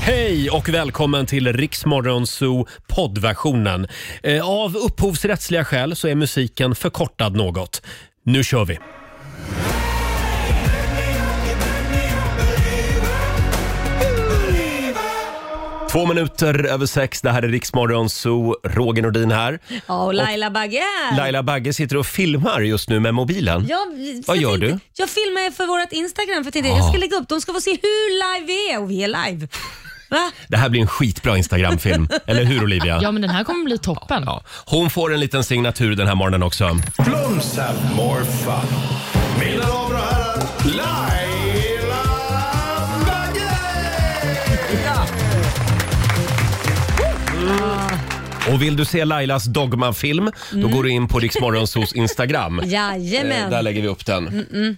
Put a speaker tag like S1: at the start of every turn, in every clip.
S1: Hej och välkommen till Riksmorgon Zoo poddversionen. Eh, Av upphovsrättsliga skäl så är musiken förkortad något. Nu kör vi! Två minuter över sex, det här är Riksmorgon Zoo, Roger Nordin här.
S2: Ja, och Laila Bagge.
S1: Laila Bagge sitter och filmar just nu med mobilen.
S2: Ja, vi-
S1: Vad
S2: jag
S1: gör
S2: tänkte-
S1: du?
S2: Jag filmar för vårt Instagram för tidigare. Jag ska lägga upp. De ska få se hur live vi är och vi är live. Va?
S1: Det här blir en skitbra Instagramfilm, eller hur Olivia?
S3: Ja, men den här kommer bli toppen.
S1: Ja. Hon får en liten signatur den här morgonen också.
S4: Blooms have more fun. Mina damer och herrar, Laila Bagge!
S1: Och vill du se Lailas Dogma-film, då går du in på Riksmorgonsos Instagram. Eh,
S2: Jajamän.
S1: Där lägger vi upp den.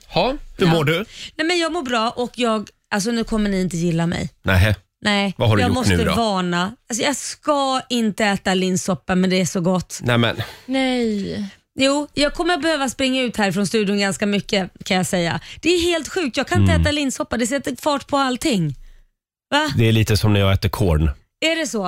S1: Ha, hur mår du?
S2: Nej, men jag mår bra och jag, alltså nu kommer ni inte gilla mig.
S1: Nähä.
S2: Nej,
S1: Vad har du
S2: jag
S1: gjort
S2: måste
S1: nu då?
S2: varna. Alltså, jag ska inte äta linssoppa men det är så gott.
S1: Nej men,
S3: Nej.
S2: Jo, jag kommer behöva springa ut här från studion ganska mycket kan jag säga. Det är helt sjukt, jag kan
S1: Mm.
S2: inte äta linssoppa. Det sätter fart på allting. Va?
S1: det är lite som när jag äter korn.
S2: Är det så?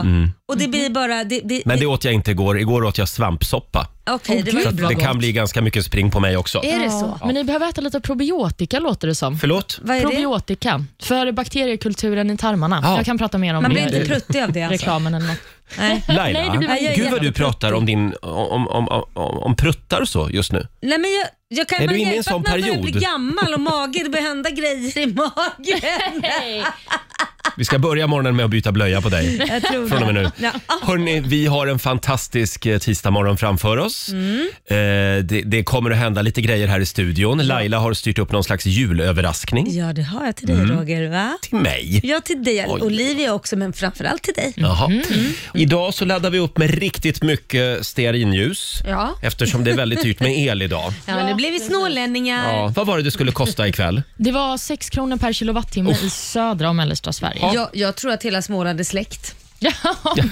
S2: Och det blir bara... Det, det,
S1: Mm. Men
S2: det,
S1: det åt jag inte igår. Igår åt jag svampsoppa.
S2: Okej, det
S3: Åh,
S2: var
S1: Så att
S3: gud. bra
S1: det kan
S3: gott.
S1: bli ganska mycket spring på mig också.
S2: Är det
S3: Ja.
S2: så?
S3: Men ni behöver äta lite probiotika låter det som.
S1: Förlåt?
S2: Vad är det?
S3: Probiotika för bakteriekulturen i tarmarna.
S1: Ja.
S3: Jag kan prata mer om
S2: Man
S3: det
S2: blir inte
S3: i
S2: pruttig av det alltså?
S3: reklamen eller något.
S2: Nej.
S3: Nej, det
S1: Laila,
S3: blir väl
S1: gud vad
S2: jävla
S1: du pratar om, din, om, om, om, om, om pruttar och så just nu.
S2: Nej, men jag, jag kan
S1: Är
S2: man
S1: du inne i en
S2: hjälpa
S1: sån
S2: att man börjar
S1: period?
S2: bli gammal och mage, det börjar hända grejer i magen.
S1: Vi ska börja morgonen med att byta blöja på dig.
S2: Jag tror
S1: från och med
S2: det.
S1: nu.
S2: Ja.
S1: Hörrni, vi har en fantastisk eh, tisdagmorgon framför oss.
S2: Mm.
S1: Eh, det, det kommer att hända lite grejer här i studion. Laila har styrt upp någon slags julöverraskning
S2: Ja, det har jag till dig Roger. Va?
S1: till mig.
S2: Ja, till dig.
S1: Mm. Oj.
S2: Olivia också, men framförallt till dig.
S1: Jaha. Mm. Idag så laddar vi upp med riktigt mycket stearinljus
S2: Ja.
S1: eftersom det är väldigt dyrt med el idag.
S2: Ja, men nu blir vi snålänningar.
S1: Ja, vad var det det skulle kosta ikväll?
S3: Det var 6 kronor per kilowattimme i södra och mellersta Sverige.
S2: Jag, jag tror att hela Småland är släkt.
S3: Ja,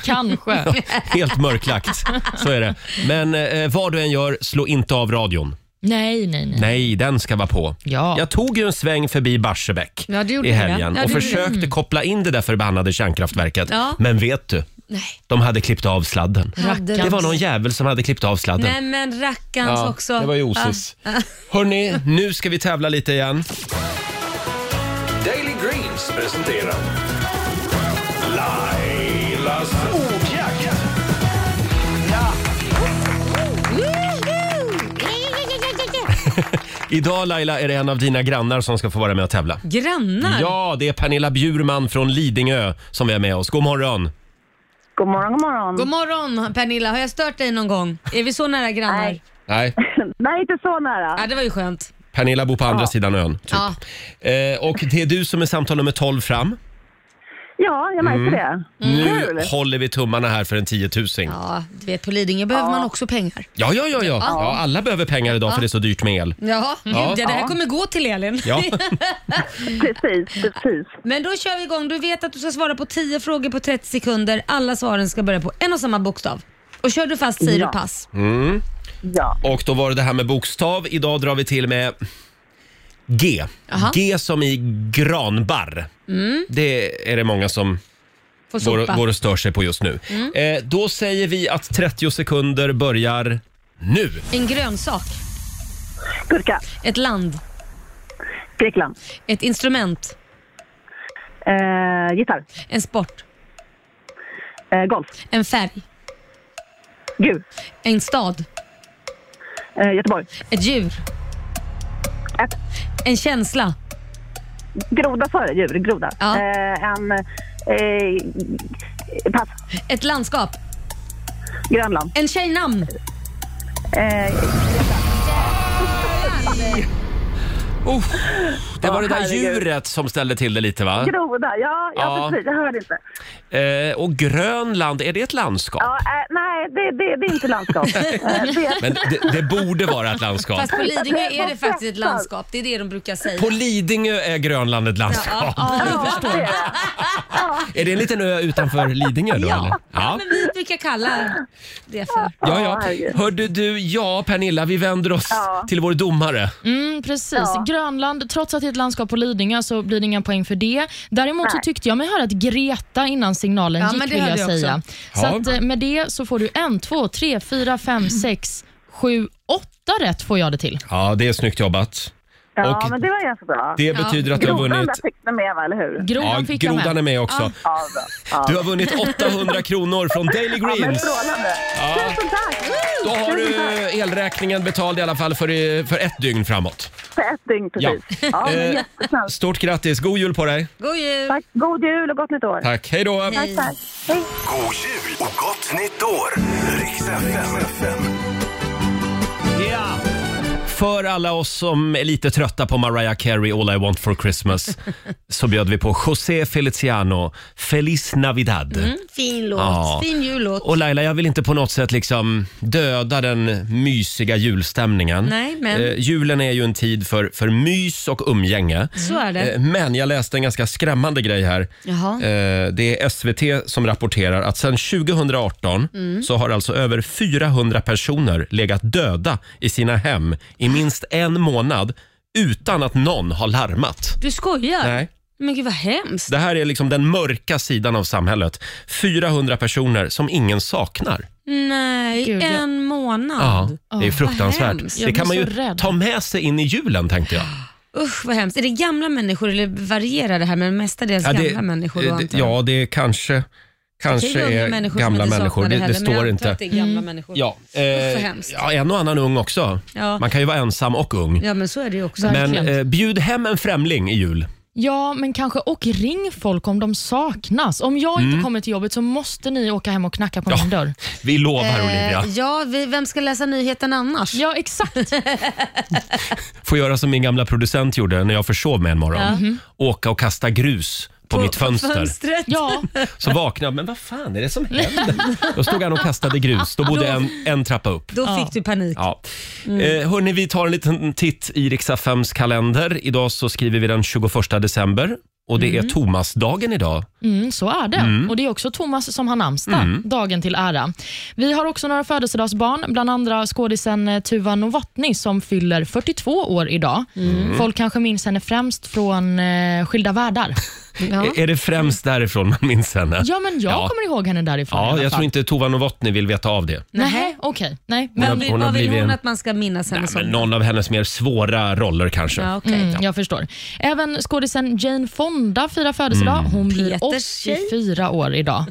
S3: kanske.
S1: Helt mörklagt, så är det. Men eh, vad du än gör, slå inte av radion.
S3: Nej, nej, nej.
S1: Nej, den ska vara på.
S3: Ja.
S1: Jag tog ju en sväng förbi Barsebäck
S2: Ja, det gjorde
S1: i
S2: du,
S1: helgen
S2: ja. Ja,
S1: och
S2: det gjorde
S1: försökte koppla in det där förbannade kärnkraftverket.
S2: Ja.
S1: Men vet du?
S2: Nej.
S1: De hade klippt av sladden.
S2: Hade
S1: Det
S2: de-
S1: var någon jävel som hade klippt av sladden.
S2: Nej men rackarns
S1: Ja,
S2: också.
S1: Det var ju osis. Hörni, nu ska vi tävla lite igen.
S4: Daily Greens presenterar Lailas ordjakt.
S1: Idag Laila är det en av dina grannar som ska få vara med och tävla.
S2: Grannar?
S1: Ja, det är Pernilla Bjurman från Lidingö som vi har med oss. God morgon!
S5: God morgon, god morgon.
S2: God morgon Pernilla, har jag stört dig någon gång? Är vi så nära grannar?
S5: Nej.
S1: Nej,
S5: Nej, inte så nära.
S2: Ja, det var ju skönt.
S1: Pernilla bor på andra sidan ön. Typ.
S2: Ja.
S1: Eh, och det är du som är samtal nummer 12 fram.
S5: Ja, jag märker det.
S2: Mm.
S5: Kul!
S1: Nu håller vi tummarna här för en tiotusing.
S2: Ja, du vet på Lidingö behöver man också pengar.
S1: Ja, ja, ja, ja. ja alla behöver pengar idag för det är så dyrt med el.
S2: Ja, Gud, ja. det här
S5: Ja.
S2: kommer gå till Elin.
S1: Ja.
S5: Precis, precis.
S2: Men då kör vi igång. Du vet att du ska svara på 10 frågor på 30 sekunder. Alla svaren ska börja på en och samma bokstav. Och kör du fast säger
S5: Ja.
S2: du pass.
S5: Ja.
S1: Och då var det det här med bokstav. Idag drar vi till med G.
S2: Jaha.
S1: G som i granbarr.
S5: Mm.
S1: Det är det många som
S2: Får
S1: går,
S2: sopa.
S1: går och stör sig på just nu.
S5: Mm.
S1: Eh, då säger vi att 30 sekunder börjar nu.
S2: En grönsak.
S5: Gurka.
S2: Ett land.
S5: Grekland.
S2: Ett instrument.
S5: Eh, gitarr.
S2: En sport.
S5: Eh, golf.
S2: En färg.
S5: Gul.
S2: En stad.
S5: Eh, Göteborg.
S2: Ett djur.
S5: Ett.
S2: En känsla.
S5: Groda före djur. Groda.
S2: Ja.
S5: Eh, en... Eh, pass.
S2: Ett landskap.
S5: Grönland.
S2: En tjejnamn.
S5: Eh,
S1: Oh, det var
S5: Åh,
S1: det där
S5: herregud.
S1: djuret som ställde till det lite va?
S5: groda. Ja, ja,
S1: Ja.
S5: precis. Jag hörde inte.
S1: Eh, och Grönland, är det ett landskap?
S5: Ja, eh, nej, det, det, det är inte landskap. Eh, det,
S1: Men det, det borde vara ett landskap.
S2: Fast på Lidingö är det faktiskt ett landskap. Det är det de brukar säga.
S1: På Lidingö är Grönland ett landskap.
S5: ja, det är det.
S1: Är det en liten ö utanför Lidingö då? Eller?
S2: Ja,
S1: Ja.
S2: men vi brukar kalla det för.
S1: Ja,
S5: Ja,
S1: ja.
S5: herregud.
S1: Hörde du, ja Pernilla, vi vänder oss
S5: Ja.
S1: till vår domare.
S3: Mm, precis. Mm, Grönland, trots att det är ett ett landskap på Lidingö så blir det inga poäng för det. Däremot så
S5: Nej.
S3: tyckte jag mig höra att Greta innan signalen
S6: Ja,
S3: gick
S6: men det
S3: vill
S6: hörde
S3: jag
S6: jag
S3: säga. Så
S1: Ja.
S3: att, eh, med det så får du en, två, tre, fyra,
S6: Mm.
S3: fem, sex, sju, åtta rätt får jag det till.
S1: Ja, det är snyggt jobbat.
S5: Ja,
S1: Och
S5: men det var ganska bra.
S1: Det betyder att du har
S5: Grodan
S1: vunnit...
S5: där fick ni med, va, eller hur?
S1: Ja,
S3: Grodan fick jag
S1: grodan är med också.
S5: Ja, bra. Ja.
S1: Du har vunnit 800 kronor från Daily
S5: Ja, men
S1: Greens.
S5: strålande. Tusen tack!
S1: Då har
S5: Tusen
S1: du
S5: tack.
S1: elräkningen betald i alla fall för, eh, för ett dygn framåt.
S5: För ett dygn precis. Ja. men
S1: Eh,
S5: jättesnällt.
S1: Stort grattis, god jul på dig.
S2: God jul!
S5: Tack. God jul och gott nytt år.
S1: Tack, hej då.
S5: Tack, tack. Hej.
S4: God jul och gott nytt år! Riks FM.
S1: Ja. För alla oss som är lite trötta på Mariah Carey All I want for Christmas så bjöd vi på José Feliciano Feliz Navidad.
S2: Mm. Fin låt.
S1: Ja.
S2: Fin jullåt.
S1: Och Laila, jag vill inte på något sätt liksom döda den mysiga julstämningen.
S2: Nej, men-
S1: Eh, julen är ju en tid för, för mys och umgänge.
S2: Så är det.
S1: Eh, Men jag läste en ganska skrämmande grej här.
S2: Jaha.
S1: Eh, Det är SVT som rapporterar att sedan 2018 så har alltså över 400 personer legat döda i sina hem i minst en månad utan att någon har larmat.
S2: Du skojar?
S1: Nej.
S2: Men gud vad hemskt.
S1: Det här är liksom den mörka sidan av samhället. 400 personer som ingen saknar.
S2: Nej,
S3: Gud, jag-
S2: en månad.
S1: Ja, det är fruktansvärt.
S2: Vad hemskt.
S1: Det
S3: Jag
S1: kan man
S3: blir
S1: ju
S3: så rädd.
S1: ta med sig in i julen tänkte jag.
S2: Usch vad hemskt. Är det gamla människor eller varierar det här men mestadels gamla människor? då,
S1: eh, det,
S2: antar jag?
S1: ja, det kanske,
S2: Det
S1: kanske
S2: är ju unga
S1: är
S2: människor som
S1: gamla
S2: inte
S1: människor.
S2: saknar
S1: Det, det
S2: heller, men jag
S1: står
S2: antar
S1: inte.
S2: Att det är gamla människor.
S1: Ja, eh,
S2: Usch, vad hemskt.
S1: ja, en och annan ung också.
S2: Ja.
S1: Man kan ju vara ensam och ung.
S2: ja, men så är det ju också.
S1: Men
S3: Verkligen.
S1: eh, bjud hem en främling i jul.
S3: Ja, men kanske och ring folk om de saknas. Om jag
S1: Mm.
S3: inte kommer till jobbet så måste ni åka hem och knacka på min dörr.
S1: Vi lovar Olivia.
S2: Eh, ja, vi, vem ska läsa nyheten annars?
S3: Ja, exakt.
S1: Får göra som min gamla producent gjorde när jag försov mig en morgon. Åka och kasta grus på, mitt fönster.
S2: Mhm. Fönstret.
S3: Ja,
S1: Så vaknade jag, men vad fan är det som händer? Då stod han och kastade grus. Då bodde en, en trappa upp.
S2: Då fick du panik.
S1: Ja.
S2: Mm.
S1: Eh, hörni, vi tar en liten titt i Riksaffems kalender. Idag så skriver vi den 21 december och det
S2: Mm.
S1: är Thomasdagen idag.
S3: mm, så är det. Och Det är också Thomas som har namnsdag,
S1: Mm.
S3: dagen till ära. Vi har också några födelsedagsbarn, bland andra skådisen eh, Tuva Novotny som fyller 42 år idag.
S1: Mm.
S3: Folk kanske minns henne främst från eh, Skilda världar.
S2: Ja.
S1: Är- Är det främst därifrån man minns henne?
S3: Ja, men jag
S1: Ja.
S3: kommer ihåg henne därifrån i
S1: Ja,
S3: alla
S1: jag
S3: fall.
S1: tror inte Tova Novotny vill veta av det.
S3: Nej, okej. Nej,
S1: Hon har-
S2: Vad
S3: men
S2: vill
S1: hon har
S2: vad vill
S1: blivit
S2: hon
S1: en-
S2: att man ska minnas henne
S1: Nej,
S3: Alltså-
S2: som?
S1: men någon av hennes mer svåra roller kanske.
S2: Ja, okej.
S3: Mm, jag förstår. Även skådisen Jane Fonda firar födelsedag.
S1: Mm.
S3: Hon blir
S2: Peters tjej.
S3: 84 år idag.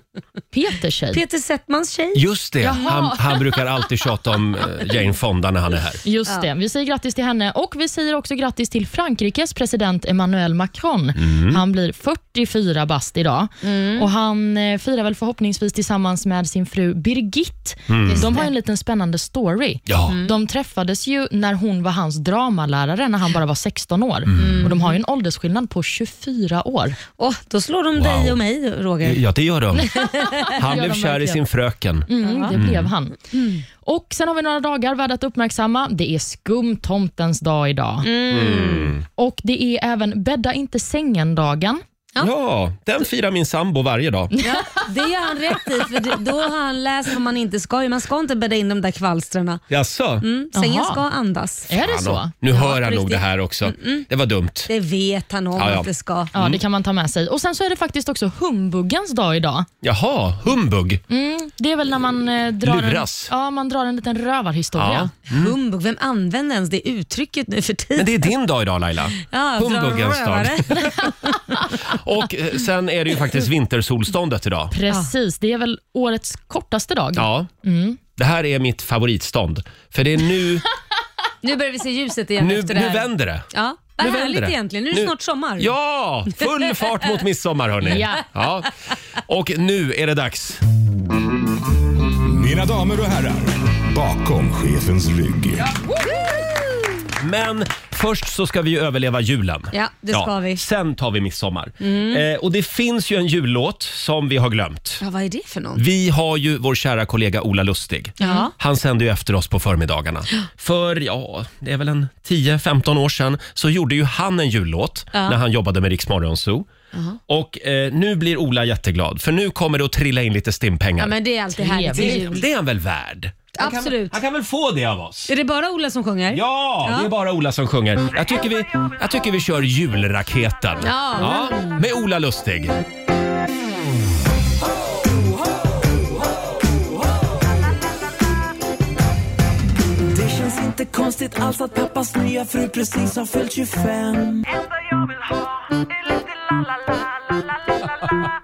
S3: Peters tjej.
S2: Peter Settmans tjej.
S1: Just det,
S3: Jaha.
S1: han, han brukar alltid tjata om eh, Jane Fonda när han är här.
S3: Just det. Vi säger grattis till henne och vi säger också grattis till Frankrikes president Emmanuel Macron. Han blir 44 bast idag och han eh, firar väl förhoppningsvis tillsammans med sin fru Birgitte. De har en liten spännande story.
S1: Ja.
S3: De träffades ju när hon var hans dramalärare när han bara var 16 år. Och De har ju en åldersskillnad på 24 år.
S2: Åh, då slår de dig och mig, Roger.
S1: Ja, det gör de. Han blev
S3: de
S1: kär i
S3: verkligen.
S1: sin fröken.
S3: Mm, det blev han. Och Sen har vi några dagar värda att uppmärksamma. Det är skumtomtens dag idag.
S1: Mm.
S3: Och Det är även bädda inte sängen-dagen.
S1: Ja, den firar min sambo varje dag.
S2: Ja, det gör han rätt i, för det- då har han läst vad man inte ska göra. Man ska inte bädda in de där kvalstren.
S1: Jaså?
S2: Mm, sängen
S3: Jaha.
S2: ska andas.
S3: Är det
S1: Fan,
S3: så? Mm,
S1: Nu hör han
S2: på
S1: nog det
S2: riktigt.
S1: här också. Det var dumt.
S2: Det vet han om
S1: Ja, ja.
S2: att det ska.
S3: Ja,
S1: Mm.
S3: det kan man ta med sig. Och Sen så är det faktiskt också humbuggens dag idag.
S1: Jaha, humbug.
S3: Mm, det är väl när man eh, drar, en,
S1: Luras.
S3: ja, man drar en liten
S1: Ja.
S3: rövarhistoria.
S1: Mm.
S2: Humbug, vem använder ens det uttrycket nu för
S1: Men
S2: tiden?
S1: det är din dag idag Laila.
S2: Ja, dra en
S1: Humbuggens dag.
S2: rövare.
S1: Och eh, sen är det ju faktiskt vintersolståndet idag.
S3: Precis, det är väl årets kortaste dag.
S1: Ja.
S3: Mm.
S1: Det här är mitt favoritstånd. För det är nu,
S2: Nu börjar vi se ljuset igen
S1: nu,
S2: efter det
S1: nu
S2: här.
S1: vänder det.
S2: Ja, vad
S1: Nu vänder
S2: härligt
S1: det.
S2: egentligen. Nu är det
S1: Nu-
S2: snart sommar.
S1: Ja, full fart mot midsommar hörni.
S3: Ja.
S1: Ja. Och nu är det dags.
S4: Mina damer och herrar, bakom chefens rygg.
S1: Men först så ska vi ju överleva julen.
S2: Ja, det ska vi. Mm.
S1: Sen tar vi midsommar. Eh, och det finns ju en jullåt som vi har glömt.
S2: Ja, vad är det för någon?
S1: Vi har ju vår kära kollega Ola Lustig.
S2: Ja.
S1: Han sänder ju efter oss på förmiddagarna. För, ja, det är väl en 10-15 år sedan så gjorde ju han en jullåt när han jobbade med Rix Morgon Zoo. Och eh, nu blir Ola jätteglad för nu kommer det att trilla in lite stimpengar.
S2: Ja, men det är alltid härligt.
S1: det,
S2: med jul.
S1: det är han väl värd?
S2: Absolut.
S1: Han kan väl få det av oss?
S2: Är det bara Ola som sjunger?
S1: Ja,
S2: Ja.
S1: det är bara Ola som sjunger. Jag tycker vi, jag tycker vi kör julraketen.
S2: Ja.
S1: med Ola Lustig.
S6: Det känns inte konstigt alls att pappas nya fru precis har fyllt 25
S7: enda jag vill ha är lite la-la-la-la-la-la-la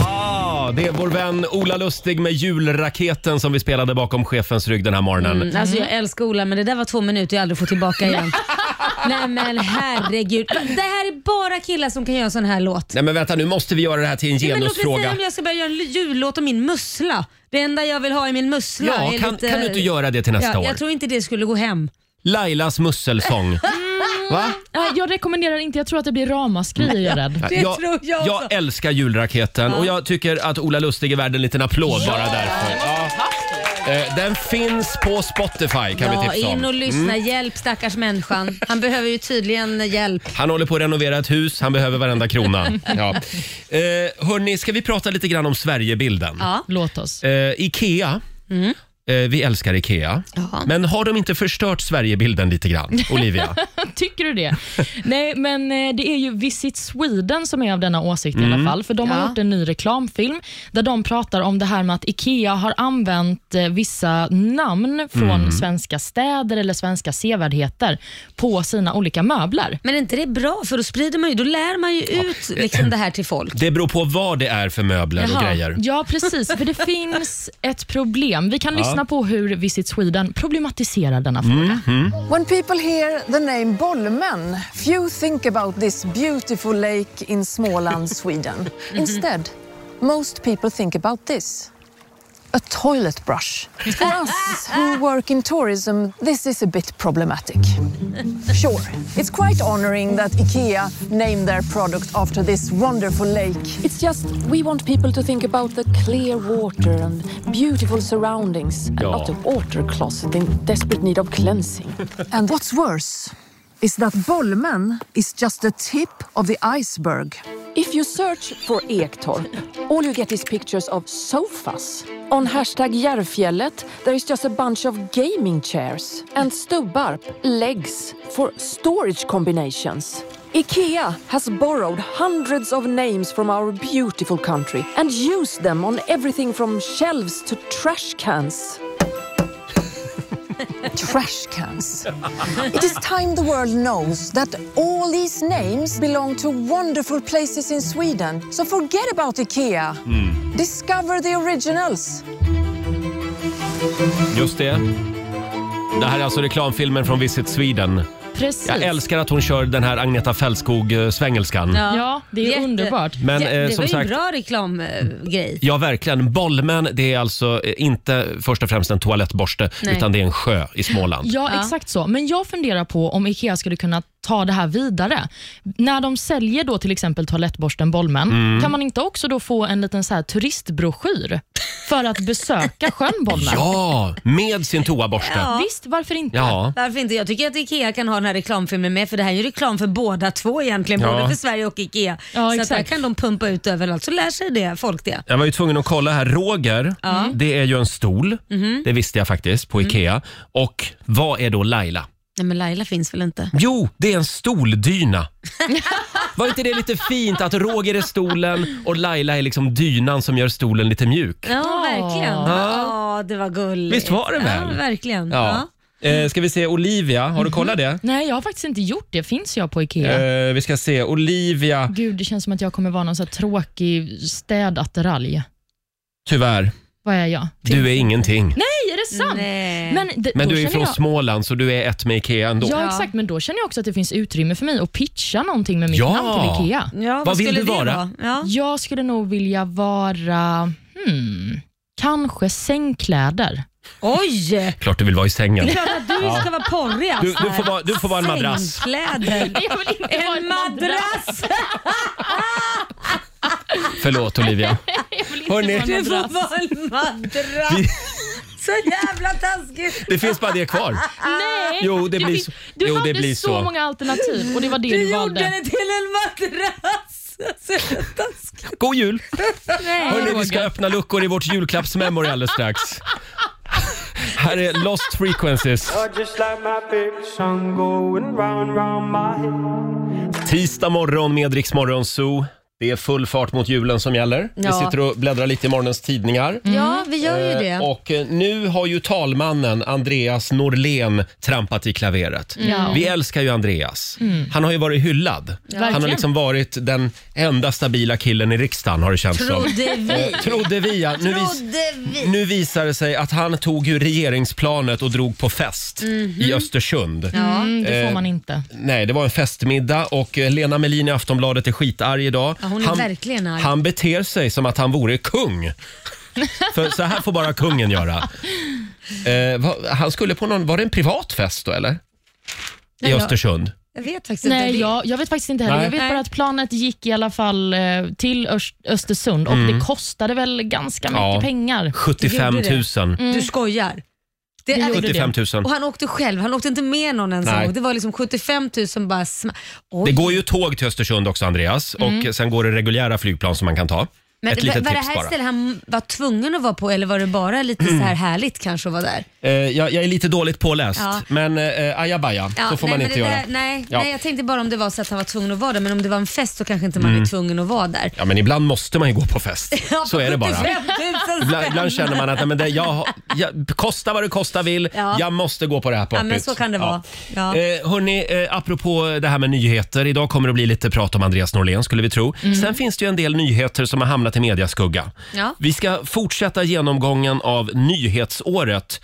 S1: Ja, det är vår vän Ola Lustig med julraketen som vi spelade bakom chefens rygg den här morgonen.
S2: Mm. Alltså jag älskar Ola men det där var två minuter jag aldrig får tillbaka igen. Nej men herregud. Det här är bara killar som kan göra en sån här låt.
S1: Nej men vänta, nu måste vi göra det här till en
S2: Ja, men låt mig
S1: genusfråga.
S2: säga om jag ska börja göra en l- jullåt om min mussla. Det enda jag vill ha är min mussla.
S1: Ja,
S2: är
S1: kan,
S2: lite-
S1: kan du inte göra det till nästa
S2: ja,
S1: år?
S2: Jag tror inte det skulle gå hem.
S1: Lailas musselsång. Va?
S3: Ja, Jag rekommenderar inte, jag tror att det blir ramaskri är jag rädd.
S2: Det tror jag också.
S1: jag älskar julraketen och jag tycker att Ola Lustig är värd en liten applåd bara därför. Ja. Eh, Den finns på Spotify kan vi
S2: Ja,
S1: tipsa
S2: in och
S1: om. Mm.
S2: lyssna. Hjälp stackars människan. Han behöver ju tydligen hjälp.
S1: Han håller på att renovera ett hus, han behöver varenda krona. Ja. Eh, hörni, ska vi prata lite grann om Sverigebilden?
S2: Ja. Mm.
S3: Låt oss.
S1: Eh, Ikea. Eh, vi älskar Ikea.
S2: Ja.
S1: Men har de inte förstört Sverigebilden lite grann, Olivia?
S3: Tycker du det? Nej, men eh, det är ju Visit Sweden som är av denna åsikt i
S1: Mm.
S3: alla fall. För De har
S2: Ja.
S3: gjort en ny reklamfilm där de pratar om det här med att IKEA har använt eh, vissa namn från
S1: Mm.
S3: svenska städer eller svenska sevärdheter på sina olika möbler.
S2: Men är inte det bra? För då sprider man ju, då lär man ju ut liksom det här till folk.
S1: Det beror på vad det är för möbler och
S3: Jaha.
S1: grejer.
S3: Ja, precis. För det finns ett problem. Vi kan lyssna på hur Visit Sweden problematiserar denna fråga.
S1: Mm.
S8: When people hear the name Bolmen, few think about this beautiful lake in Småland, Sweden. Instead, most people think about this. A toilet brush. For us who work in tourism, this is a bit problematic. Sure, it's quite honoring that IKEA named their product after this wonderful lake. It's just we want people to think about the clear water and beautiful surroundings and
S1: Ja.
S8: not the water closet in desperate need of cleansing. And what's worse is that Bolmen is just the tip of the iceberg. If you search for Ektorp, all you get is pictures of sofas. On hashtag Järfjället, there is just a bunch of gaming chairs and stubbar, legs for storage combinations. IKEA has borrowed hundreds of names from our beautiful country and used them on everything from shelves to trash cans trash cans. it is time the world knows that all these names belong to wonderful places in Sweden. So forget about IKEA. Discover the originals.
S1: Just det. Det här är alltså reklamfilmen från Visit Sweden.
S3: Precis.
S1: Jag älskar att hon kör den här Agneta Fältskog-svängelskan. Ja.
S3: Ja, det är
S2: Jätte-
S3: underbart.
S1: Men
S2: Ja,
S1: eh,
S2: det var
S1: som
S2: ju en
S1: sagt,
S2: bra reklamgrej.
S1: ja verkligen. Bollmän, det är alltså eh, inte först och främst en toalettborste
S2: Nej.
S1: utan det är en sjö i Småland.
S3: Ja, exakt så. Men jag funderar på om IKEA skulle kunna ta det här vidare. När de säljer då till exempel toalettborsten Bolmen,
S1: Mm.
S3: kan man inte också då få en liten så här turistbroschyr för att besöka sjön Bolmen?
S1: Ja, med sin toaborste. Ja.
S3: Visst, varför inte?
S1: ja.
S2: Varför inte? Jag tycker att IKEA kan ha den här reklamfilmen med för det här är ju reklam för båda två egentligen.
S1: Ja.
S2: Både för Sverige och IKEA.
S3: Ja,
S2: så att
S3: exakt.
S2: där kan de pumpa ut överallt så lär sig det folk det.
S1: Jag var ju tvungen att kolla här. Roger, det är ju en stol.
S2: Mhm.
S1: Det visste jag faktiskt
S2: Mm.
S1: på Ikea. Och vad är då Laila?
S2: Nej men Laila finns väl inte?
S1: Jo, det är en stoldyna. Var inte det lite fint att Roger är stolen och Laila är liksom dynan som gör stolen lite mjuk?
S2: Ja, verkligen. Ja, det var gulligt.
S1: Visst var det väl?
S2: Ja, verkligen.
S1: Ja. Mhm.
S2: Ja.
S1: Eh, ska vi se Olivia, har du kollat det?
S3: Nej, jag har faktiskt inte gjort det. Finns jag på IKEA?
S1: Eh, vi ska se Olivia,
S3: Gud, det känns som att jag kommer vara någon så här tråkig städattiralj.
S1: tyvärr,
S3: Vad är jag?
S1: du är ingenting.
S3: Nej, är det sant?
S2: Nej.
S3: Men, det,
S1: Men
S3: då
S1: du är
S3: känner
S1: från
S3: jag...
S1: Småland så du är ett med Ikea ändå.
S3: Ja,
S2: Ja.
S3: exakt. Men då känner jag också att det finns utrymme för mig att pitcha någonting med mitt
S1: Ja.
S3: namn till IKEA.
S2: Ja,
S1: Vad vill
S2: skulle
S1: du
S2: det
S1: vara?
S2: Ja.
S3: Jag skulle nog vilja vara, hmm, kanske sängkläder.
S2: Oj!
S1: Klart du vill vara i sängen.
S2: Klart att du ska vara porrig alltså.
S1: Du, du, får vara, du får vara en madrass.
S2: Sängkläder.
S3: Jag vill inte vara
S2: En
S3: en madrass.
S2: madrass!
S1: Förlåt Olivia.
S3: Jag vill inte
S1: Hörrni.
S3: vara
S2: Du
S3: en
S2: får
S3: madrass.
S2: vara en madrass! Så jävla taskigt!
S1: Det finns bara det kvar.
S3: Nej,
S1: Jo, det
S3: du,
S1: blir
S3: fick-
S1: så.
S3: Du
S1: Jo, det
S3: hade
S1: blir
S3: så,
S1: så.
S3: många alternativ och det var det du,
S2: Du gjorde
S3: valde.
S2: det till en madrass! Så jävla taskigt.
S1: God jul!
S3: Nej,
S1: Hörrni, vi
S3: Roger.
S1: ska öppna luckor i vårt julklappsmemory alldeles strax. Här är Lost Frequencies. Tisdag morgon med Rix Morgon Zoo. Det är full fart mot julen som gäller. Vi
S2: Ja.
S1: sitter och bläddrar lite i morgonens tidningar.
S2: Ja, vi gör ju
S1: Eh,
S2: det.
S1: Och eh, nu har ju talmannen Andreas Norlén trampat i klaveret.
S2: Mm.
S3: Ja.
S1: Vi älskar ju Andreas. Han har ju varit hyllad. Han har
S3: Verkligen.
S1: liksom varit den enda stabila killen i riksdagen har det känts som.
S2: Trodde vi.
S1: Eh, Trodde vi, ja. Nu, vis-
S2: Trodde vi.
S1: nu visar det sig att han tog ju regeringsplanet och drog på fest
S2: Mhm.
S1: i Östersund.
S3: Mm, det
S1: Eh,
S3: får man inte.
S1: Nej, det var en festmiddag och eh, Lena Melin i Aftonbladet är skitarg idag.
S2: Ja, hon är verkligen arg.
S1: Han beter sig som att han vore kung. För så här får bara kungen göra. Eh, vad- han skulle på någon, var det en privat fest då eller? I
S2: ja.
S1: Östersund?
S2: Jag vet faktiskt inte.
S3: Nej,
S2: Det-
S3: jag, jag vet faktiskt inte heller.
S1: Nej.
S3: Jag vet
S2: Nej.
S3: bara att planet gick i alla fall eh, till Öst- Östersund och det kostade väl ganska mycket
S1: Mm. Ja.
S3: pengar.
S1: 75 000.
S2: Gjorde Du skojar. Mm, Det
S3: Det
S2: är,
S3: gjorde
S1: 75 000.
S2: och han åkte själv, han åkte inte med någon ens.
S1: Nej.
S2: en gång. Det var liksom 75 000 bara sma- Oj.
S1: Det går ju tåg till Östersund också Andreas och sen går det reguljära flygplan som man kan ta.
S2: Mm. Men
S1: Ett
S2: var,
S1: litet
S2: var det
S1: tips
S2: här ett
S1: bara. Mm.
S2: ställe han var tvungen att vara på eller var det bara lite så här härligt kanske att vara där?
S1: Eh, jag, jag är lite dåligt påläst
S2: Ja.
S1: men eh, ajabaja, så får
S2: nej,
S1: man
S2: men
S1: inte
S2: det
S1: göra.
S2: Där, nej,
S1: Ja.
S2: nej, jag tänkte bara om det var så att han var tvungen att vara där, men om det var en fest så kanske inte man är tvungen att vara där.
S1: Ja men ibland måste man ju gå på fest. Mm. Så är det bara.
S2: 75 000
S1: Ibland,
S2: spänn.
S1: ibland känner man att nej, men det, jag, jag, kosta vad det kosta vill,
S2: Ja.
S1: jag måste gå på det här
S2: Ja,
S1: poppis.
S2: men så kan det vara. Ja.
S1: Eh, hörni, eh, apropå det här med nyheter. Idag kommer det bli lite prat om Andreas Norlén skulle vi tro. Sen finns det ju en del nyheter som har hamnat i mediaskugga.
S2: Mm. Ja.
S1: Vi ska fortsätta genomgången av nyhetsåret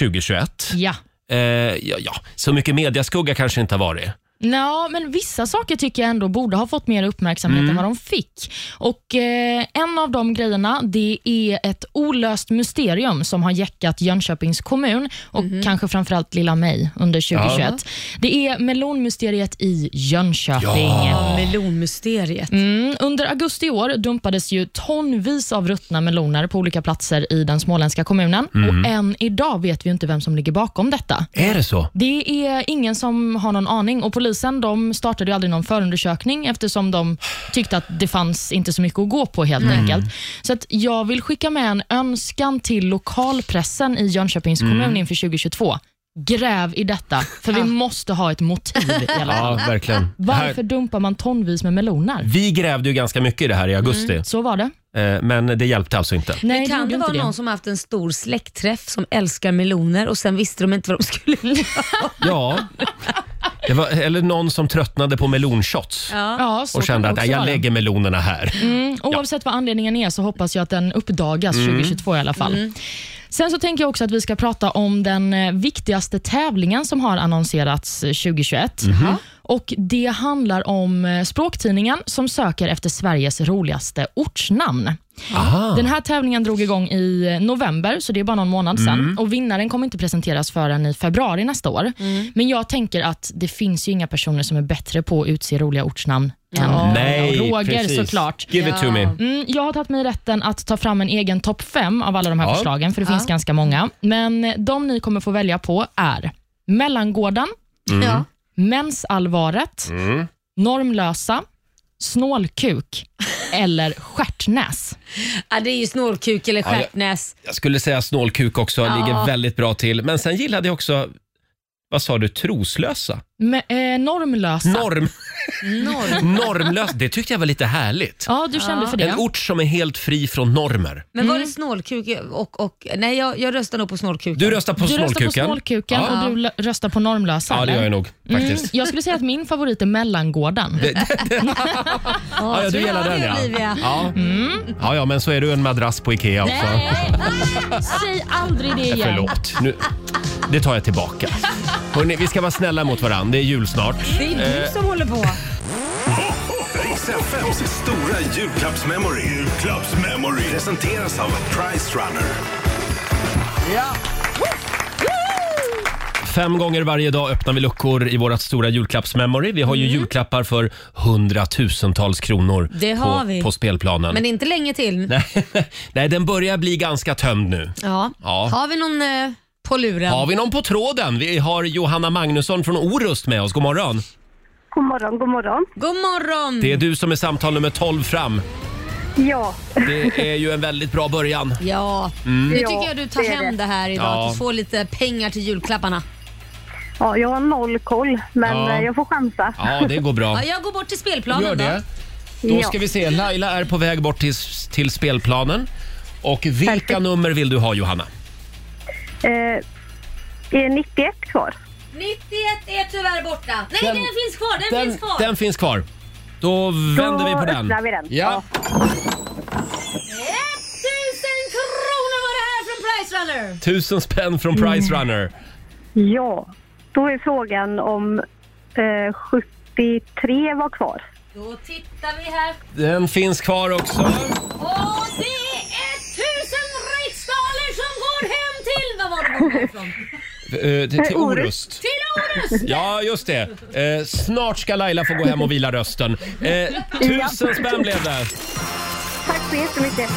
S1: 2021.
S3: Ja.
S1: Eh, ja, ja. Så mycket mediaskugga kanske inte har varit.
S3: Ja, men vissa saker tycker jag ändå borde ha fått mer uppmärksamhet än vad de fick. Och eh, En av de grejerna det är ett olöst mysterium som har jäckat Jönköpings kommun och kanske framförallt lilla mig under 2021. Det är melonmysteriet i Jönköping.
S2: Melonmysteriet.
S3: Mm, under augusti i år dumpades ju tonvis av ruttna meloner på olika platser i den småländska kommunen och än idag vet vi ju inte vem som ligger bakom detta.
S1: Är det så?
S3: Det är ingen som har någon aning och polisen de startade ju aldrig någon förundersökning eftersom de tyckte att det fanns inte så mycket att gå på helt
S1: Mm.
S3: enkelt. Så att jag vill skicka med en önskan till lokalpressen i Jönköpings kommun
S1: Mm.
S3: inför 2022. Gräv i detta, för vi måste ha ett motiv i alla fall.
S1: Ja, verkligen. Det här-
S3: Varför dumpar man tonvis med meloner?
S1: Vi grävde ju ganska mycket i det här i augusti,
S3: Så var det.
S2: Mm.
S1: eh, men det hjälpte alltså inte.
S3: Nej,
S2: Men kan
S3: gjorde
S2: det vara
S3: inte
S2: någon som haft en stor släktträff som älskar meloner och sen visste de inte vad de skulle göra?
S1: Ja. Det var, eller någon som tröttnade på melonshots
S3: Ja, så
S1: och
S3: kan
S1: kände
S3: det
S1: att
S3: också
S1: "Nej, jag
S3: vara.
S1: lägger melonerna här.
S3: Mm, oavsett vad anledningen är så hoppas jag att den uppdagas 2022 i alla fall. Sen så tänker jag också att vi ska prata om den eh, viktigaste tävlingen som har annonserats eh, 2021. Och Det handlar om eh, Språktidningen som söker efter Sveriges roligaste ortsnamn. Den här tävlingen drog igång i eh, november, så det är bara någon månad
S1: Mm.
S3: sedan. Och Vinnaren kommer inte presenteras förrän i februari nästa år. Men jag tänker att det finns ju inga personer som är bättre på att utse roliga ortsnamn än
S1: Nej,
S3: Roger
S1: precis.
S3: såklart.
S1: Give it to me.
S3: Mm, jag har tagit mig rätten att ta fram en egen topp fem av alla de här
S1: Ja.
S3: förslagen, för det finns ganska många. Men eh, de ni kommer få välja på är Mellangården,
S1: Mm.
S2: Ja.
S3: Mensalvaret, Normlösa, Snålkuk eller Stjärtnäs.
S2: Ja, det är ju snålkuk eller
S1: Ja, jag-
S2: stjärtnäs.
S1: Jag skulle säga snålkuk också, ligger väldigt bra till. Men sen gillade jag också, vad sa du, troslösa?
S3: Men, eh, normlösa.
S1: Norm,
S2: Norr.
S1: normlösa, det tyckte jag var lite härligt.
S3: ja, du kände för det.
S1: En ort som är helt fri från normer.
S2: Men var det snålkuk och... och nej, jag, jag röstar nog på snålkuken.
S1: Du röstar på
S3: Du röstar på
S1: snålkuken.
S3: Snålkuken
S1: Ja.
S3: och du l- röstar på Normlösa.
S1: ja, det gör
S3: eller?
S1: jag nog faktiskt.
S3: Mm, jag skulle säga att min favorit är Mellangården.
S1: Ja, ja, du
S2: så
S1: gillar
S2: gör
S1: den
S2: vi,
S1: ja.
S2: Olivia.
S1: Ja. ja. ja, men så är du en madrass på Ikea också.
S3: Mm. Nej, Eh, säg aldrig det igen.
S1: Förlåt. Nu, det tar jag tillbaka. Hörrni, vi ska vara snälla mot varandra. Det är jul snart.
S2: Det är
S1: Eh,
S2: du som håller på.
S4: Riks FMs stora julklappsmemory. Julklappsmemory. Presenteras av Price Runner.
S1: Fem gånger varje dag öppnar vi luckor i vårt stora julklappsmemory. Vi har
S2: Mm.
S1: ju julklappar för hundratusentals kronor
S2: Det har
S1: på,
S2: vi.
S1: på spelplanen.
S2: Men inte länge till.
S1: Nej, den börjar bli ganska tömd nu.
S2: Ja.
S1: Ja.
S2: Har vi någon eh, på luren?
S1: Har vi någon på tråden? Vi har Johanna Magnusson från Orust med oss. God morgon.
S5: God morgon, god morgon.
S2: God morgon!
S1: Det är du som är samtal nummer 12 fram.
S5: Ja,
S1: Det är ju en väldigt bra början.
S2: Ja, nu tycker jag du tar
S5: det är
S2: hem det här idag.
S1: Mm. Ja.
S2: Att du får lite pengar till julklapparna.
S5: ja, jag har noll koll, men
S1: Ja.
S5: eh, jag får chansa.
S1: Ja, det går bra.
S2: Ja, jag går bort till spelplanen
S1: Gör det.
S2: då.
S1: Då
S5: Ja.
S1: ska vi se. Laila är på väg bort till, till spelplanen. Och vilka nummer vill du ha Johanna?
S5: Eh, är 91 kvar?
S2: 91 är tyvärr borta. Nej,
S1: Den-
S2: den, finns kvar. Den, finns kvar.
S1: den finns kvar. Då vänder vi på den.
S5: öppnar vi den.
S1: Ja.
S2: 1000 kronor var det här från Price Runner.
S1: Tusen spänn från Price Runner.
S5: Ja, då är frågan om eh, 73 var kvar.
S2: Då tittar vi här.
S1: Den finns kvar också. Eh,
S2: Och det är 1000 riksdaler som går hem till... Vad var det borta ifrån?
S1: Eh, till, till Orust.
S2: Till Orust!
S1: Ja, just det. Eh, snart ska Laila få gå hem och vila rösten. Eh, tusen spänn blev det.
S5: Tack så jättemycket.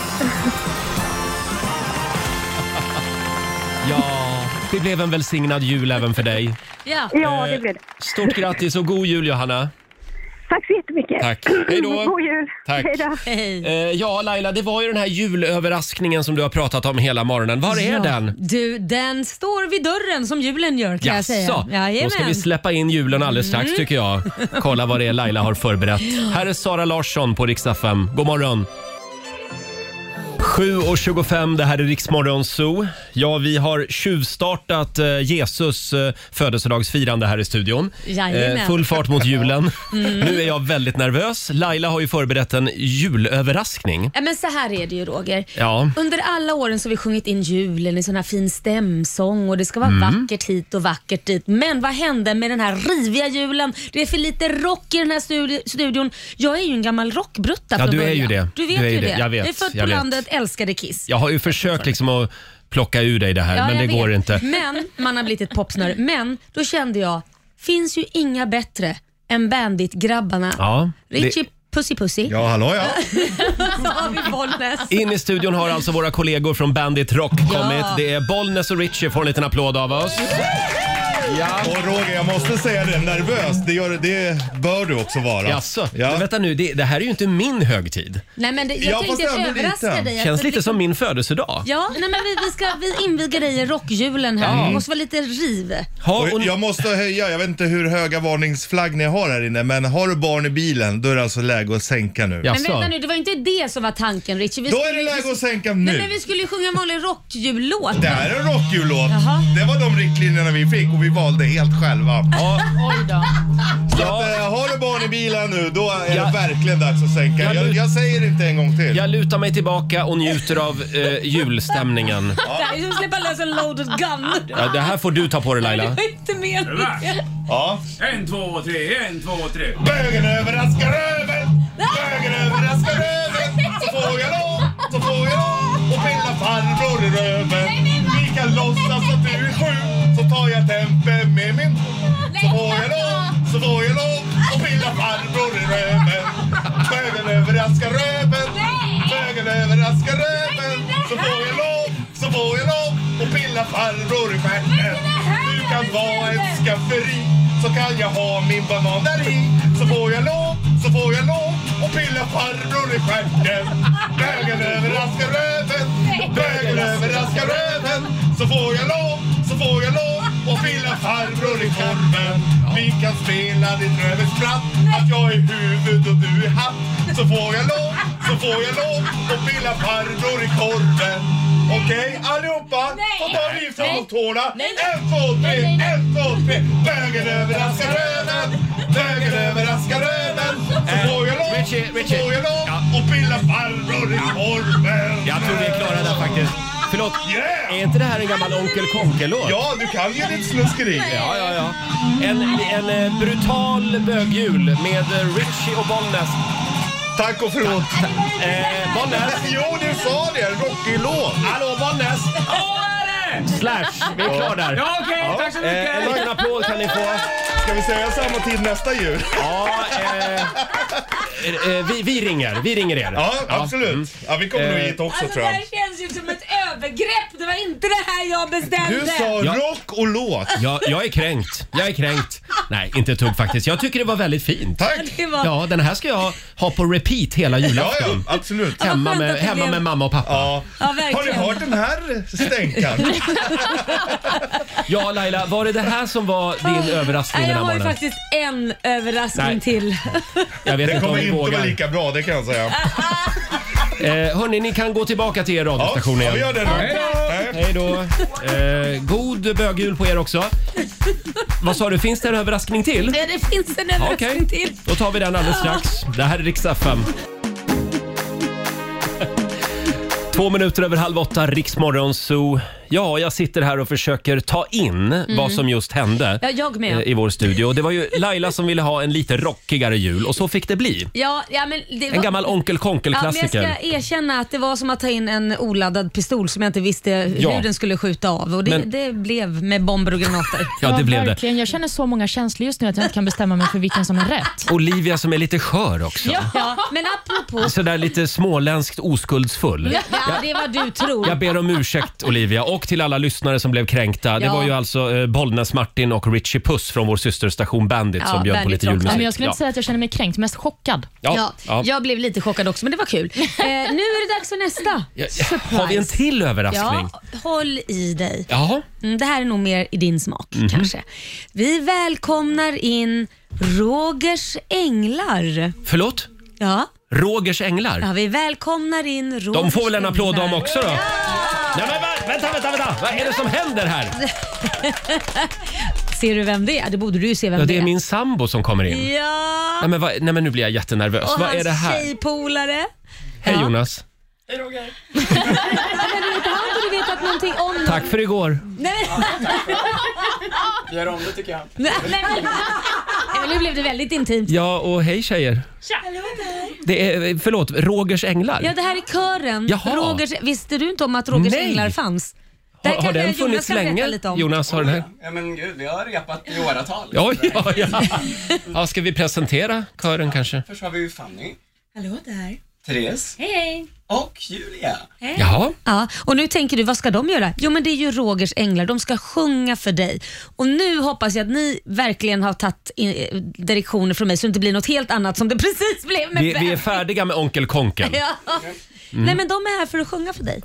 S1: Ja, det blev en välsignad jul även för dig.
S2: Ja.
S5: Ja,
S1: Eh,
S5: det blev det.
S1: Stort grattis och god jul Johanna.
S5: Tack så jättemycket.
S1: Tack. Hej då.
S5: God jul.
S1: Tack.
S5: Hej då.
S2: Hej.
S1: Eh, ja, Laila, det var ju den här julöverraskningen som du har pratat om hela morgonen. Var är
S2: Ja,
S1: den?
S2: Du, den står vid dörren som julen gör kan jag säga. Mm.
S1: Då ska vi släppa in julen alldeles strax tycker jag. Kolla vad det är Laila har förberett. Här är Sara Larsson på Rix FM. God morgon! 7.25, det här är Riksmorgon Zoo. Ja, vi har tjuvstartat eh, Jesus eh, födelsedagsfirande här i studion. Eh,
S2: Jajamän. Mm.
S1: full fart mot julen. Nu är jag väldigt nervös. Laila har ju förberett en julöverraskning.
S2: Ja, men så här är det ju Roger.
S1: Ja.
S2: Under alla åren så har vi sjungit in julen i sån här fin stämsång och det ska vara
S1: Mm.
S2: vackert hit och vackert dit. Men vad hände med den här riviga julen? Det är för lite rock i den här studi- studion. Jag är ju en gammal rockbrutta
S1: Ja,
S2: från
S1: du är
S2: början.
S1: ju det.
S2: Du vet
S1: Du är
S2: ju
S1: ju
S2: det.
S1: det. Jag vet,
S2: är född
S1: jag
S2: på
S1: vet.
S2: landet, älskade Kiss.
S1: Jag har ju försökt liksom att plocka ur dig det här,
S2: Ja,
S1: men
S2: jag
S1: det
S2: vet.
S1: går inte.
S2: Men man har blivit ett popsnöre. Men då kände jag, finns ju inga bättre än Bandit-grabbarna.
S1: Ja, det-
S2: Richie Pussy Pussy.
S9: Ja, hallå ja.
S2: Så har vi Bollnäs.
S1: In i studion har alltså våra kollegor från Bandit Rock kommit. Det är Bollnäs och Richie får en liten applåd av oss. Ja.
S9: Och Roger, jag måste säga det. Nervös, det, gör, det bör du också vara.
S1: Jaså, men
S9: Ja.
S1: vänta nu, det, det här är ju inte min högtid.
S2: Nej, men det, jag,
S9: Ja,
S2: tänkte
S9: fast
S2: jag
S9: ändå
S2: överraska
S9: lite.
S2: dig. Jag
S1: Känns
S2: tänkte-
S1: lite som min födelsedag.
S2: Ja, nej, men vi, vi, ska, vi inviger dig i rockjulen här.
S1: Mm.
S2: Det måste vara lite riv.
S1: Ha,
S9: Och
S1: och,
S9: jag måste höja, jag vet inte hur höga varningsflagg ni har här inne, men har du barn i bilen då är det alltså läge att sänka nu.
S2: Men vänta
S1: jaså,
S2: nu, det var inte det som var tanken Richie. Vi
S9: Då
S2: skulle-
S9: är det läge att sänka
S2: Nej, men
S9: nu.
S2: vi skulle ju sjunga en vanlig rockjullåt.
S9: Det här är en rockjullåt.
S2: Jaha.
S9: Det var de riktlinjerna vi fick och vi valde helt själva.
S3: Oj då.
S9: Så att, eh, har du barn i bilen nu, då är
S1: Ja.
S9: det verkligen dags att sänka.
S1: Jag-
S9: Jag, jag säger det inte en gång till.
S1: jag lutar mig tillbaka och njuter av eh, julstämningen.
S2: Det här är som att släppa lös en loaded gun.
S1: Ja, det här får du ta på dig Laila.
S2: Det är inte meningen.
S9: Ja.
S10: En, två, tre, en, två, tre.
S9: Bögen överraskar röven, bögen överraskar röven. Så får jag lov, så får jag lov och pilla farbror i röven. Vi kan låtsas att du är sjuk, så tar jag tempen med min. Så får jag lov, så får jag lov och pilla farbror i röven. Bögen överraskar röven, bögen överraskar röven. Så får jag lov, så får jag lov och pilla farbror i stjärten. Du kan vara ett skafferi så kan jag ha min banan där i. Så får jag lov, så får jag lov och pilla farbror i stjärten. Bögen överraskar röven, bögen överraskar röven. Så får jag lov, så får jag lov och pilla farbror i korven. Vi kan spela ditt rövelspratt, att jag är huvud och du är hatt. Så får jag lov, så får jag lov och pilla farbror i korven. Okej, allihopa! Då tar vi framåt tårna. En, två, tre, en, två, tre. Bögen överraskar röven. Bögen överraskar röven. Så får jag lov,
S1: Eh, Richie,
S9: så
S1: Richie.
S9: får jag lov och pilla farbror i korven.
S1: Jag tror vi är klara där faktiskt. Förlåt,
S9: Yeah!
S1: är inte det här en gammal Onkel Konke-låt?
S9: Ja, du kan ju ditt snuskeri.
S1: Ja, ja, ja. En, en eh, brutal bögjul med eh, Richie och Bollnäs.
S9: Tack och förlåt.
S1: Eh, Bollnäs!
S9: Jo, du sa det. Rockig låt.
S1: Hallå, Bollnäs! Slash! Vi är klara där.
S10: Ja, okej, tack så
S1: Eh, en
S10: mycket!
S1: liten applåd kan ni få.
S9: Ska vi säga samma tid nästa jul?
S1: Ja, eh, eh, vi, vi ringer. Vi ringer er.
S9: Ja, absolut. Ja, vi kommer nog
S1: Eh,
S9: hit också
S2: Alltså
S9: tror
S2: det
S9: jag.
S2: här känns ju som ett övergrepp. Det var inte det här jag beställde.
S9: Du sa
S1: Ja.
S9: rock och låt.
S1: Ja, jag är kränkt. Jag är kränkt. Nej, inte ett tugg faktiskt. Jag tycker det var väldigt fint.
S2: Tack. Det var-
S1: Ja, den här ska jag ha på repeat hela julafton.
S9: Ja, absolut.
S1: Hemma,
S2: skönt
S1: med,
S2: att det
S1: hemma
S2: blev-
S1: med mamma och pappa. Ja.
S2: Ja, verkligen.
S9: Har ni hört den här stänkan?
S1: ja, Laila, var det det här som var din överraskning
S2: Nej, jag
S1: den här
S2: har ju
S1: morgonen?
S2: faktiskt en överraskning
S1: Nej.
S2: till.
S1: Jag vet
S9: Det
S1: inte om
S9: kommer
S1: vi
S9: inte
S1: vågar.
S9: vara lika bra, det kan jag säga.
S1: Eh, hörni, ni kan gå tillbaka till er radiostation
S9: Ja,
S1: igen.
S9: vi gör det då.
S1: Hej då. Hej då. Eh, god bögjul på er också. Vad sa du, finns det en överraskning till?
S2: Nej, det finns en
S1: Ja,
S2: överraskning
S1: Okej,
S2: till.
S1: då tar vi den alldeles strax. Det här är riksdag 5. Två minuter över halv åtta, Riksmorgon Zoo. Ja, jag sitter här och försöker ta in vad som just hände
S2: Mm. Ja, jag med.
S1: eh, i vår studio. Och Det var ju Laila som ville ha en lite rockigare jul och så fick det bli.
S2: Ja, ja, men det var...
S1: En gammal onkel
S2: Ja, men jag
S1: konkel-klassiker.
S2: ska erkänna att det var som att ta in en oladdad pistol som jag inte visste
S1: Ja.
S2: hur den skulle skjuta av. Och det,
S1: Men-
S2: det blev med bomber och granater.
S1: Ja, det blev det.
S3: verkligen. Jag känner så många känslor just nu att jag inte kan bestämma mig för vilken som är rätt.
S1: Olivia som är lite skör också.
S2: Ja, men apropå...
S1: Sådär lite småländskt oskuldsfull.
S2: Ja, det är vad du tror.
S1: Jag ber om ursäkt Olivia och till alla lyssnare som blev kränkta. Det
S2: Ja.
S1: var ju alltså eh, Bollnäs-Martin och Richie Puss från vår systerstation Bandit
S2: Ja,
S1: som bjöd på
S2: Bandit
S1: lite
S2: Rock.
S1: julmusik.
S3: Men jag skulle inte säga att jag känner mig kränkt, mest chockad.
S1: Ja.
S2: Ja,
S1: Ja.
S2: Jag blev lite chockad också, men det var kul. Eh, nu är det dags för nästa.
S1: Ja, ja. Har vi en till överraskning?
S2: Ja, håll i dig.
S1: Jaha.
S2: Mm, det här är nog mer i din smak
S1: Mhm.
S2: kanske. Vi välkomnar in Rogers änglar.
S1: Förlåt?
S2: Ja,
S1: Rogers änglar?
S2: ja vi välkomnar in Rogers
S1: De får väl en applåd
S2: änglar.
S1: de också då? Nej, men, vä- vänta, vänta, vänta! Vad är det som händer här?
S2: Ser du vem det är? Det borde du ju se vem
S1: Ja,
S2: det
S1: det är min sambo som kommer in.
S2: Ja,
S1: Nej, men, vad, nej, men nu blir jag jättenervös. vad
S2: och hans
S1: är det här?
S2: tjejpolare.
S1: Hej Jonas.
S2: Har inte du vetat någonting om någon?
S1: Tack för igår.
S2: Nej,
S11: Gör om det tycker jag.
S2: nej, nej, nej. Ja, Nu blev det väldigt intimt.
S1: Ja, och hej tjejer.
S11: Tja!
S1: Det är, förlåt, Rogers änglar?
S2: Ja, det här är kören.
S1: Jaha.
S2: Rogers, visste du inte om att Rogers
S1: Nej.
S2: änglar fanns? Det här
S1: Har, har
S2: kanske
S1: den
S2: Jonas
S1: funnits
S2: kan berätta
S1: länge?
S2: lite om.
S1: Jonas, har den här?
S11: Ja men gud, vi har repat i åratal.
S1: Oj, ja, ja. ja, ska vi presentera kören kanske?
S11: Först har vi ju Fanny,
S2: Hallå där.
S11: Therese
S2: Hej, hej.
S11: och Julia.
S1: Jaha.
S2: Ja, och nu tänker du, vad ska de göra? Jo, men det är ju Rogers änglar. De ska sjunga för dig. Och nu hoppas jag att ni verkligen har tagit in- direktioner från mig så det inte blir något helt annat som det precis blev med
S1: Vi, vi är
S2: Ben.
S1: färdiga med Onkel Konken.
S2: Ja. Nej, men de är här för att sjunga för dig.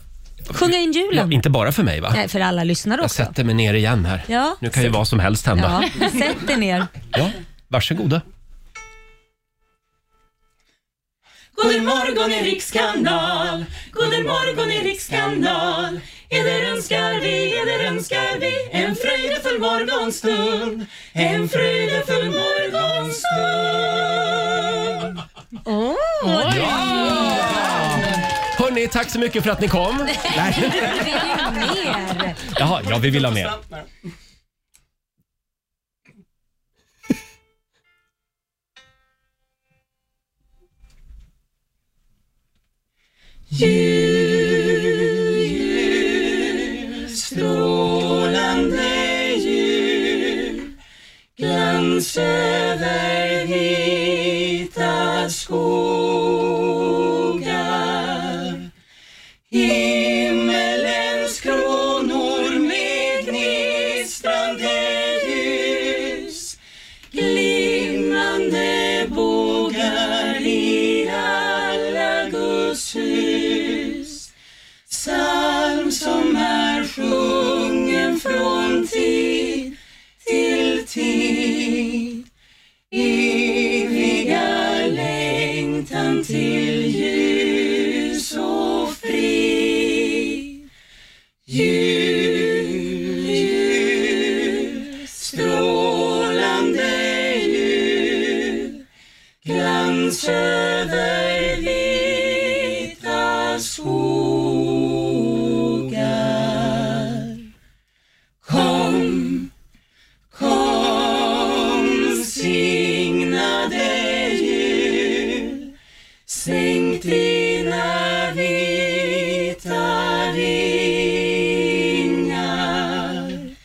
S2: Sjunga in
S1: Mm. Ja,
S2: julen.
S1: inte bara för mig va?
S2: Nej, för alla lyssnare
S1: Jag
S2: också.
S1: sätter mig ner igen här.
S2: Ja.
S1: Nu kan ju vad som helst hända.
S2: Ja, sätt er ner.
S1: Ja, varsågoda.
S12: God morgon i rikskanal, god morgon i rikskanal. Eder önskar vi, eder önskar vi en fröjdefull morgonstund. En fröjdefull morgonstund.
S2: Åh!
S1: Hörni, tack så mycket för att ni kom.
S2: Nej. Det är ju mer.
S1: Jaha, ja vi vill ha mer.
S12: Strålande jul, glans över vita skogar. Himmelens kronor med gnistrande ljus, glimmande bågar i alla Guds hus. Psalm som är sjungen från tid till tid. Eviga längtan till ljus och frid. Jul, jul, strålande jul. Glans över vita skogar. Kom, kom, signade jul. Sänk dina vita vingar.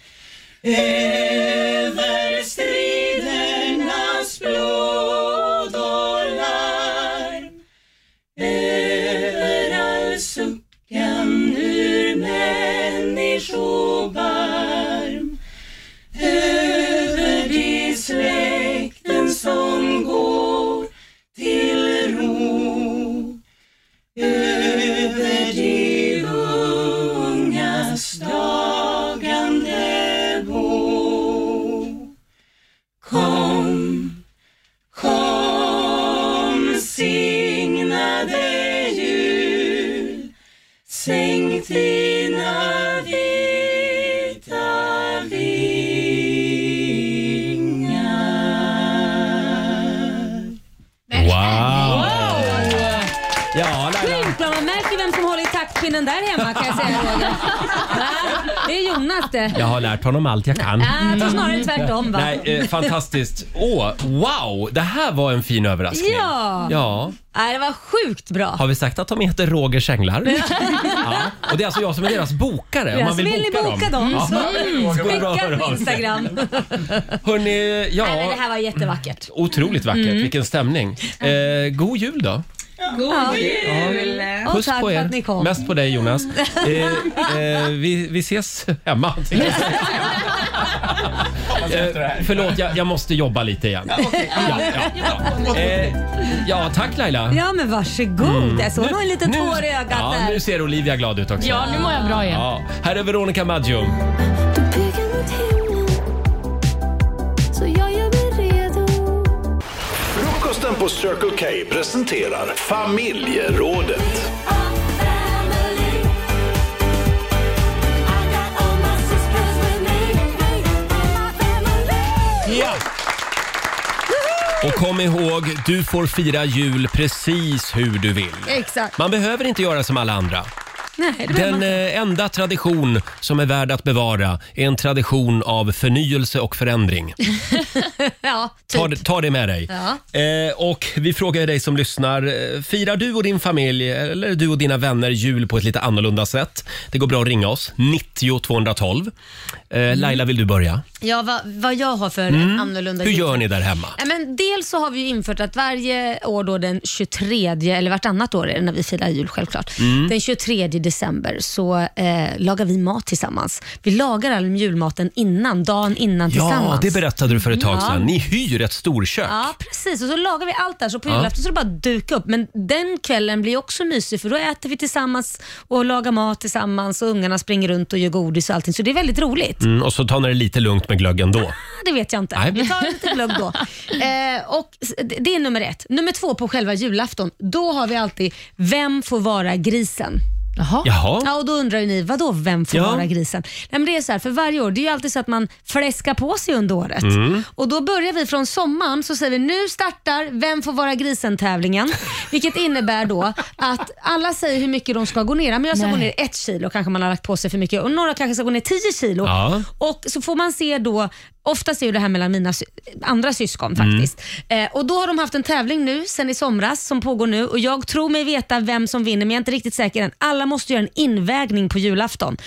S12: Över stridernas blod och larm Över all suckan ur människobarm Över de släkter det jul Sänk dina vita vingar
S1: Wow! Ja, Laila.
S2: Sjukt bra, man märker vem som håller i taktpinnen där hemma kan jag säga Roger. Va? Det är Jonas det.
S1: Jag har lärt honom allt jag kan.
S2: Ah, det var snarare tvärtom va?
S1: Nej, eh, fantastiskt. Åh, wow! Det här var en fin överraskning.
S2: Ja.
S1: ja.
S2: Nej, det var sjukt bra.
S1: Har vi sagt att de heter Rogers Änglar? ja. Och det är alltså jag som är deras bokare. Om man vill,
S2: vill ni boka dem, så
S1: Ja. Så går det bra att
S2: skicka
S1: höra
S2: på
S1: av sig.
S2: Instagram.
S1: Hörrni, ja.
S2: Nej, men det här var jättevackert.
S1: Otroligt vackert.
S2: Mm.
S1: Vilken stämning. Eh, god jul då.
S2: God
S1: jul.
S2: Och
S1: Puss
S2: tack
S1: på
S2: för
S1: er.
S2: att ni kom.
S1: Mest på dig Jonas. Eh, eh, vi, vi ses hemma. Eh, förlåt, jag, jag måste jobba lite igen. Ja, ja. Eh, ja, tack Laila.
S2: Ja men varsågod. Alltså,
S1: Mm.
S2: Jag såg
S1: Nu-
S2: nog en liten tår i ögat
S1: Ja,
S2: där.
S1: nu ser Olivia glad ut också.
S2: Ja, nu mår jag bra igen.
S1: Ja. Här är Veronica Maggio.
S12: Så jag gör mig redo
S4: Frukosten på Circle K presenterar familjerådet.
S1: Ja. Och kom ihåg, du får fira jul precis hur du vill.
S2: Exakt.
S1: Man behöver inte göra som alla andra.
S2: Nej, det behöver
S1: Den
S2: man
S1: eh, enda tradition som är värd att bevara är en tradition av förnyelse och förändring.
S2: Ja, typ.
S1: Ta, det- ta det med dig.
S2: Ja.
S1: Eh, och vi frågar dig som lyssnar, eh, firar du och din familj eller du och dina vänner jul på ett lite annorlunda sätt? Det går bra att ringa oss, 90 212.
S2: Mm.
S1: Eh, Laila, vill du börja?
S2: Ja, vad, vad jag har för
S1: Mm.
S2: annorlunda
S1: Hur
S2: jul.
S1: gör ni där hemma?
S2: Ja, men dels så har vi ju infört att varje år då den 23, eller vartannat år är det när vi firar jul självklart.
S12: Mm.
S2: Den 23 december så eh, lagar vi mat tillsammans. Vi lagar all julmaten innan, dagen innan
S1: Ja,
S2: tillsammans.
S1: det berättade du för ett tag
S2: Ja.
S1: sedan. Ni hyr ett storkök.
S2: Ja, precis. Och så lagar vi allt där, så på
S1: Ja.
S2: julafton så är det bara att duka upp. Men den kvällen blir också mysig, för då äter vi tillsammans och lagar mat tillsammans och ungarna springer runt och gör godis och allting. Så det är väldigt roligt.
S1: Mm, och så tar ni det lite lugnt med glöggen då.
S2: Det vet jag inte.
S1: Nej.
S2: Vi tar lite glögg då. Eh, och s- det- det är nummer ett. Nummer två på själva julafton, då har vi alltid Vem får vara grisen?
S3: Jaha.
S1: Jaha.
S2: Ja, och då undrar ju ni, vadå vem får
S12: Ja.
S2: vara grisen? Nej, men det är så här, för varje år, det är ju alltid så att man fläskar på sig under året.
S12: Mm.
S2: Och då börjar vi från sommaren, så säger vi nu startar Vem får vara grisen-tävlingen. Vilket innebär då att alla säger hur mycket de ska gå ner. Ja, Men jag ska
S12: Nej.
S2: gå ner ett kilo kanske man har lagt på sig för mycket och några kanske ska gå ner 10 kilo.
S12: Ja.
S2: Och så får man se då, oftast är ju det här mellan mina sy- andra syskon
S12: Mm.
S2: faktiskt. Eh, och då har de haft en tävling nu sen i somras som pågår nu och jag tror mig veta vem som vinner men jag är inte riktigt säker än. Alla måste göra en invägning på julafton.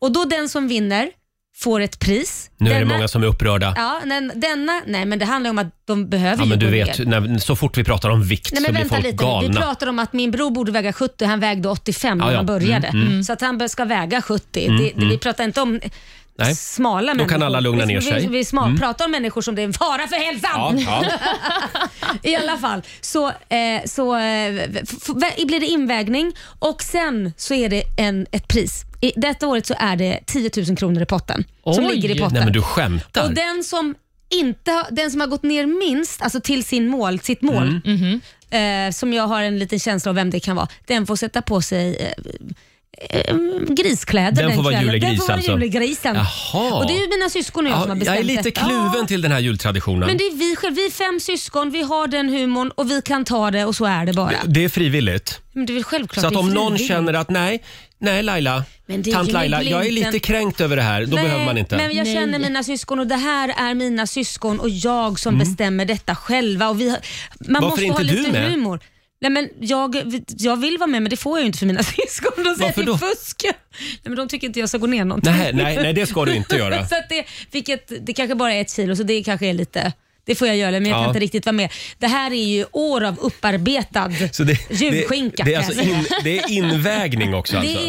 S2: Och då den som vinner får ett pris.
S1: Nu är det
S2: Denna-
S1: många som är upprörda.
S2: Ja, den, denna, nej men det handlar ju om att de behöver
S1: Ja,
S2: ju
S1: men du
S2: gå
S1: vet,
S2: ner.
S1: när, så fort vi pratar om vikt
S2: Nej,
S1: så
S2: men
S1: blir
S2: vänta
S1: folk
S2: lite. Vi
S1: galna.
S2: pratar om att min bror borde väga 70, han vägde 85
S1: Ja,
S2: när
S1: ja.
S2: han började.
S1: Mm, mm.
S2: Så att han bör- ska väga 70.
S1: Mm,
S2: det, det, Vi
S1: mm.
S2: pratar inte om
S1: Nej.
S2: smala
S1: Då kan
S2: människor.
S1: alla lugna
S2: vi,
S1: ner sig.
S2: Vi, vi smal,
S1: Mm.
S2: pratar om människor som det är en fara för hälsan.
S1: Ja,
S2: I alla fall så, eh, så eh, f- f- blir det invägning och sen så är det en, ett pris. I, detta året så är det 10 000 kronor i potten som ligger i potten.
S1: Nej, men du skämtar.
S2: Och den som, inte, har- den som har gått ner minst, alltså till sin mål, sitt mål,
S1: Mm.
S2: eh, som jag har en liten känsla av vem det kan vara, den får sätta på sig eh, eh, griskläder
S1: Den får vara
S2: kvällen.
S1: julegris
S2: den får vara
S1: alltså.
S2: julegrisen.
S1: Jaha.
S2: Och det är ju mina syskon och jag som har
S1: Ja,
S2: bestämt
S1: jag är lite
S2: detta.
S1: kluven till den här jultraditionen.
S2: Men det är vi själva, vi är fem syskon, vi har den humorn och vi kan ta det och så är det bara.
S1: Det är frivilligt.
S2: Men det är väl självklart
S1: Så att
S2: det är
S1: om någon
S2: frivilligt.
S1: känner att nej, nej Laila,
S2: Men det är
S1: tant
S2: ju
S1: Laila, jag är
S2: glimten.
S1: lite kränkt över det här, då behöver man inte.
S2: Men jag känner mina syskon och det här är mina syskon och jag som bestämmer detta själva. Och vi, har- man
S1: Mm. Varför
S2: måste
S1: är
S2: ha
S1: inte du
S2: lite
S1: med?
S2: humor. Nej, men jag, jag vill vara med men det får jag ju inte för mina syskon. De säger att det
S1: Varför
S2: är
S1: då?
S2: fusk. Nej, men de tycker inte jag ska gå ner någonting.
S1: Nej, nej, nej, det ska du inte göra.
S2: så att det, vilket, det kanske bara är ett kilo så det kanske är lite det får jag göra, men jag kan
S1: Ja.
S2: inte riktigt vara med. Det här är ju år av upparbetad
S1: Så det,
S2: julskinka.
S1: Det, det, är
S2: kan
S1: alltså
S2: jag säga.
S1: in, det är invägning också. Alltså.
S2: Det är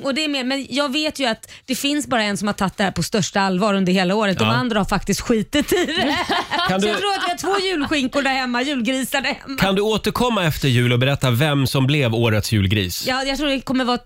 S1: Ja.
S2: och det är mer, men jag vet ju att det finns bara en som har tagit det här på största allvar under hela året. De
S1: Ja.
S2: andra har faktiskt skitit i det.
S1: Kan
S2: Så
S1: du-
S2: jag tror att vi har två julskinkor där hemma, julgrisar där hemma.
S1: Kan du återkomma efter jul och berätta vem som blev årets julgris?
S2: Ja, jag tror det kommer vara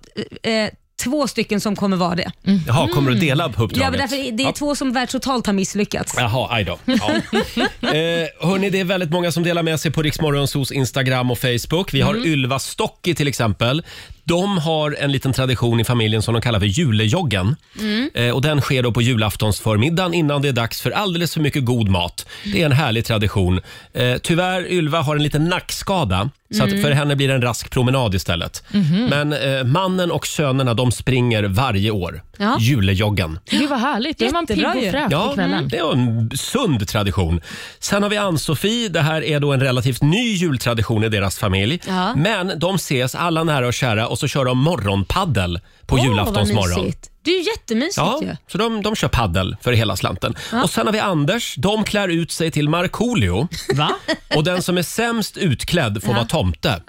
S2: eh, två stycken som kommer vara det.
S1: Jaha, kommer du dela på
S2: Mm. Ja, men
S1: uppdraget?
S2: därför det är
S1: Mm. Ja.
S2: två som världstotalt har misslyckats.
S1: Jaha, aj då. Ja. eh, hörni, det är väldigt många som delar med sig på Riksmorgonsos Instagram och Facebook. Vi har
S2: Mm.
S1: Ylva Stocki till exempel. De har en liten tradition i familjen som de kallar för julejoggen.
S12: Mm.
S1: Eh, och den sker då på julaftonsförmiddagen innan det är dags för alldeles för mycket god mat. Det är en härlig tradition. Eh, tyvärr, Ylva har en liten nackskada så att
S12: Mm.
S1: för henne blir det en rask promenad istället.
S3: Mhm.
S1: Men eh, mannen och sönerna de springer varje år.
S3: Ja.
S1: Julejoggen.
S3: Gud vad härligt, då är man pigg
S2: Jättebra
S3: och
S2: ju.
S3: fräsch på
S1: Ja, mm,
S3: kvällen.
S1: det är en sund tradition. Sen har vi Ann-Sofie. Det här är då en relativt ny jultradition i deras familj.
S2: Ja.
S1: Men de ses alla nära och kära och så kör de morgonpaddel på
S2: Åh, vad
S1: julaftonsmorgon.
S2: mysigt. Det är ju jättemysigt
S1: Ja,
S2: ju.
S1: så de, de kör paddel för hela slanten.
S2: Ja.
S1: Och sen har vi Anders. De klär ut sig till Markoolio. Va? Och den som är sämst utklädd får
S12: Ja.
S1: vara tomte.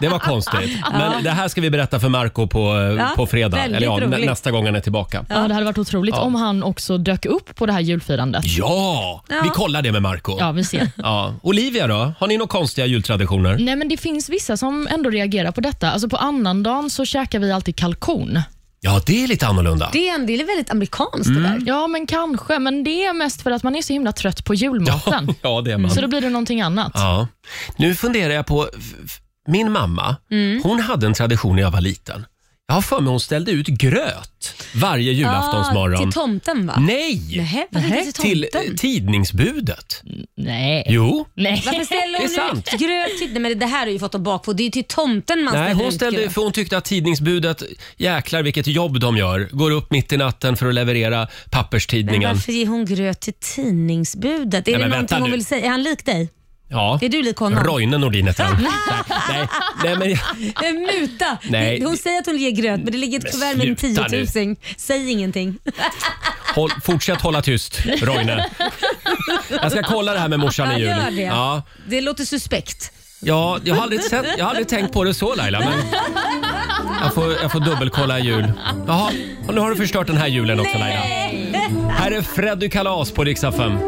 S1: Det var konstigt. Men det här ska vi berätta för Marco på, eh,
S3: Ja,
S1: på fredag.
S3: väldigt
S1: Eller ja, nä-
S3: roligt.
S1: nästa gång han är tillbaka.
S3: Ja, det hade varit otroligt
S1: Ja.
S3: om han också dök upp på det här julfirandet.
S1: Ja,
S3: Ja.
S1: vi kollar det med Marco
S3: Ja, vi ser.
S1: Ja. Olivia då? Har ni några konstiga jultraditioner?
S3: Nej, men det finns vissa som ändå reagerar på detta. Alltså på annandagen så käkar vi alltid kalkon.
S1: Ja, det är lite annorlunda.
S3: Det är, det är väldigt amerikanskt
S1: det Mm. där.
S3: Ja, men kanske. Men det är mest för att man är så himla trött på julmaten.
S1: Ja, det är man.
S3: Så då blir det någonting annat.
S1: Ja. Nu funderar jag på, f- f- min mamma, hon hade en tradition när jag var liten. Jag har för mig hon ställde ut gröt varje
S2: Ah,
S1: julaftonsmorgon.
S2: till tomten va?
S1: Nej!
S2: Nähä, varför
S1: till
S2: inte till tomten?
S1: eh, tidningsbudet.
S3: Nej.
S1: Jo.
S3: Nej.
S2: Varför ställer
S1: Det är
S2: hon
S1: sant.
S2: ut gröt? till- Nej, men det här har ju fått att bak på. Det är ju till tomten man
S1: Nej,
S2: ställer
S1: hon
S2: ut
S1: ställde,
S2: gröt.
S1: för hon tyckte att tidningsbudet, jäklar vilket jobb de gör. Går upp mitt i natten för att leverera
S2: Men
S1: papperstidningen.
S2: varför ger hon gröt till tidningsbudet? Är
S1: Nej,
S2: det
S1: men vänta
S2: någonting hon
S1: nu.
S2: vill säga? Är han lik dig?
S1: Ja.
S2: Är du lik honom?
S1: Roine Nordin heter han. nej, nej, men,
S2: Eh, Muta!
S1: Nej.
S2: Hon säger att hon ger gröt, men det ligger
S1: Men
S2: ett kuvert med en
S1: sluta nu.
S2: 10 000. Säg ingenting.
S1: håll, fortsätt hålla tyst, Roine. Jag ska kolla det här med morsan i
S2: Ja,
S1: jul.
S2: gör det.
S1: Ja,
S2: Det låter suspekt.
S1: ja jag, har aldrig sett, jag har aldrig tänkt på det så Laila, men jag får, jag får dubbelkolla i jul. Jaha, och nu har du förstört den här julen också Laila. Här är Freddy Kalas på riksdag 5.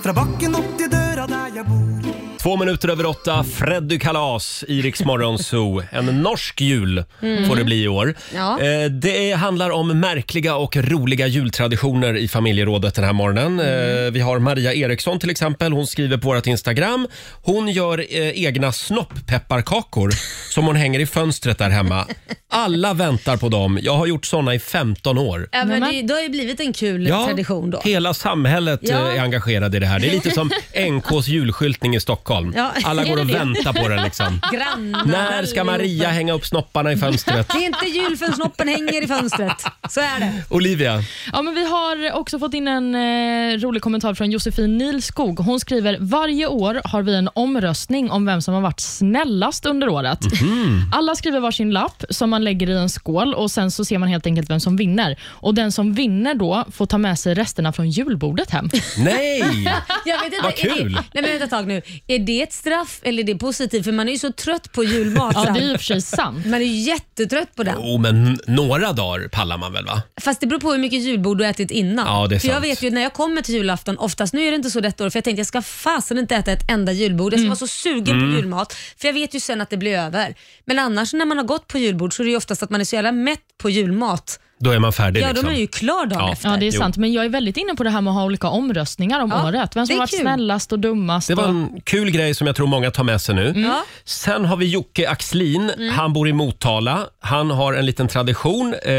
S6: Ifrån backen upp till dörra där jag bor
S1: Två minuter över åtta, Freddy Kalas i Rix Morgon Zoo. En norsk jul
S12: Mm.
S1: får det bli i år.
S12: Ja.
S1: Eh, Det handlar om märkliga och roliga jultraditioner i familjerådet den här morgonen. Eh, Vi har Maria Eriksson till exempel. Hon skriver på vårt Instagram. Hon gör eh, egna snopppepparkakor som hon hänger i fönstret där hemma. Alla väntar på dem. Jag har gjort såna i 15 år.
S2: Ja, men det, det har ju blivit en kul tradition då.
S1: Hela samhället eh,
S2: Ja.
S1: är engagerad i det här. Det är lite som NKs julskyltning i Stockholm.
S2: Ja,
S1: Alla går
S2: är
S1: och
S2: det det?
S1: väntar på den liksom.
S2: Grannar
S1: När ska
S2: allihopa.
S1: Maria hänga upp snopparna i fönstret?
S2: Det är inte jul förrän snoppen hänger i fönstret. Så är det.
S1: Olivia,
S3: Ja, men vi har också fått in en eh, rolig kommentar från Josefin Nilskog. Hon skriver varje år har vi en omröstning om vem som har varit snällast under året.
S1: Mhm.
S3: Alla skriver varsin lapp som man lägger i en skål och sen så ser man helt enkelt vem som vinner. Och Den som vinner då får ta med sig resterna från julbordet hem.
S1: Nej!
S2: Jag vet inte,
S3: Vad
S2: är det-
S3: kul.
S2: Nej, men vänta ett tag nu. Är det ett straff eller är det positivt? För man är ju så trött på julmat.
S3: Ja,
S2: sen.
S3: det är i och för sig sant.
S2: Man är ju jättetrött på den.
S1: oh, men n- några dagar pallar man väl va?
S2: Fast det beror på hur mycket julbord du har ätit innan.
S1: Ja, det är
S2: för jag
S1: sant.
S2: vet ju när jag kommer till julafton, oftast, nu är det inte så detta år, för jag tänkte jag ska fasen inte äta ett enda julbord. Jag ska vara så sugen
S12: Mm.
S2: på julmat, för jag vet ju sen att det blir över. Men annars när man har gått på julbord så är det ju oftast att man är så jävla mätt på julmat.
S1: Då är man färdig
S2: ja,
S1: liksom.
S2: då är man ju klar dagen
S1: Ja.
S2: efter.
S3: Ja, det är
S1: Jo.
S3: sant. Men jag är väldigt inne på det här med att ha olika omröstningar om
S2: Ja,
S3: året. Vem
S2: det
S3: som
S2: är
S3: har varit
S2: kul.
S3: snällast och dummast.
S1: Det var
S3: och...
S1: en kul grej som jag tror många tar med sig nu.
S3: Mm. Ja.
S1: Sen har vi Jocke Axlin.
S2: Mm.
S1: Han bor i Motala. Han har en liten tradition. Eh,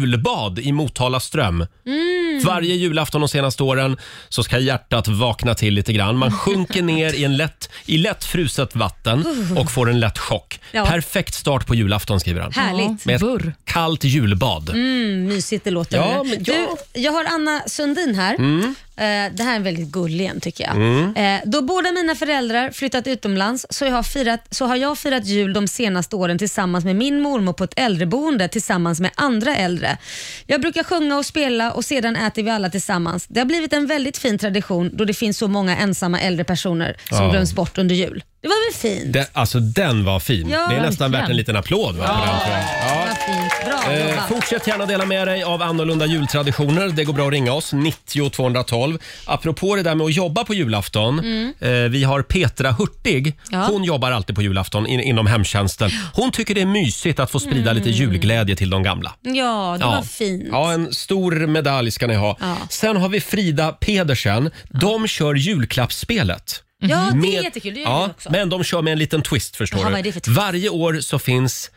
S1: julbad i Motala ström.
S2: Mm.
S1: Varje julafton de senaste åren så ska hjärtat vakna till lite grann. Man sjunker ner i, en lätt, i lätt fruset vatten och får en lätt chock.
S2: Ja.
S1: Perfekt start på julafton skriver han.
S2: Härligt.
S1: Med ett kallt julbad.
S2: Mm, mysigt det låter.
S1: Ja,
S2: nu.
S1: men
S2: Du, jag har Anna Sundin här.
S1: Mm.
S2: Eh, Det här är väldigt gullig en tycker jag.
S12: Mm.
S2: Eh, Då båda mina föräldrar flyttat utomlands så, jag har firat, så har jag firat jul de senaste åren tillsammans med min mormor på ett äldreboende tillsammans med andra äldre. Jag brukar sjunga och spela och sedan äter vi alla tillsammans. Det har blivit en väldigt fin tradition då det finns så många ensamma äldre personer som
S1: Ja.
S2: glöms bort under jul. Det var väl fint?
S1: Det, alltså den var fin.
S2: Ja,
S1: det är nästan
S2: verkligen.
S1: värt en liten applåd. Va? för den, tror jag.
S2: Ja. Vad fint. Bra
S1: Eh,
S2: jobbat.
S1: fortsätt gärna dela med dig av annorlunda jultraditioner. Det går bra att ringa oss, 90 212. Apropå det där med att jobba på julafton.
S12: Mm.
S1: Eh, vi har Petra Hurtig.
S12: Ja.
S1: Hon jobbar alltid på julafton in, inom hemtjänsten. Hon tycker det är mysigt att få sprida lite julglädje till de gamla.
S2: Mm. Ja, det
S1: Ja.
S2: var fint.
S1: Ja, en stor medalj ska ni ha.
S2: Ja.
S1: Sen har vi Frida Pedersen. De kör julklappsspelet.
S2: Ja, det är jättekul. Det gör vi också.
S1: Men de kör med en liten twist förstår
S2: Jaha,
S1: du.
S2: vad är det för
S1: Varje år så finns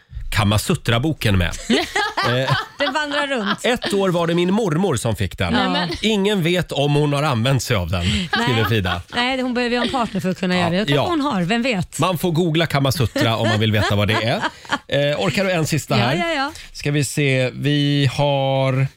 S1: Kamasutra-boken med. eh,
S2: Den vandrar runt.
S1: ett år var det min mormor som fick den.
S2: Nej, men-
S1: Ingen vet om hon har använt sig av den, skriver Frida.
S2: Nej, hon behöver ju ha en partner för att kunna göra det. Jag kanske
S1: ja.
S2: hon har, vem vet?
S1: Man får googla Kamasutra om man vill veta vad det är. Eh, orkar du en sista
S2: Ja,
S1: här?
S2: ja, ja.
S1: Ska vi se, vi har...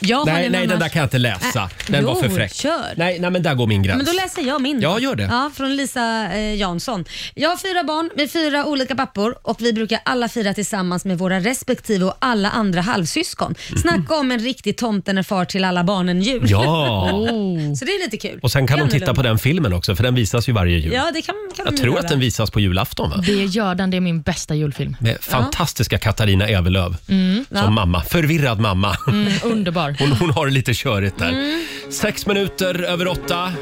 S2: Jag har
S1: nej,
S2: den
S1: nej den
S2: annars.
S1: där kan jag inte läsa.
S2: Äh,
S1: Den var
S2: jo,
S1: för fräck.
S2: kör.
S1: Nej, nej, men där går min gräns.
S2: Men då läser jag min.
S1: Ja, gör det.
S2: Ja, från Lisa eh, Jansson. Jag har fyra barn med fyra olika pappor och vi brukar alla fira tillsammans med våra respektive och alla andra halvsyskon. Snacka om en riktig tomten är far till alla barnen-jul.
S1: Mm. Ja.
S2: Så det är lite kul.
S1: Och sen kan
S2: Det är
S1: de titta på
S2: annorlunda.
S1: den filmen också, för den visas ju varje jul.
S2: Ja, det kan, kan
S1: jag
S2: de
S1: tror
S2: göra.
S1: att den visas på julafton, va?
S3: Det gör den. Det är min bästa julfilm.
S1: Med fantastiska Katarina Evelöv
S3: Mm.
S1: som mamma. Förvirrad mamma.
S3: Mm, underbar.
S1: Hon, hon har det lite körigt där. Sex minuter över åtta.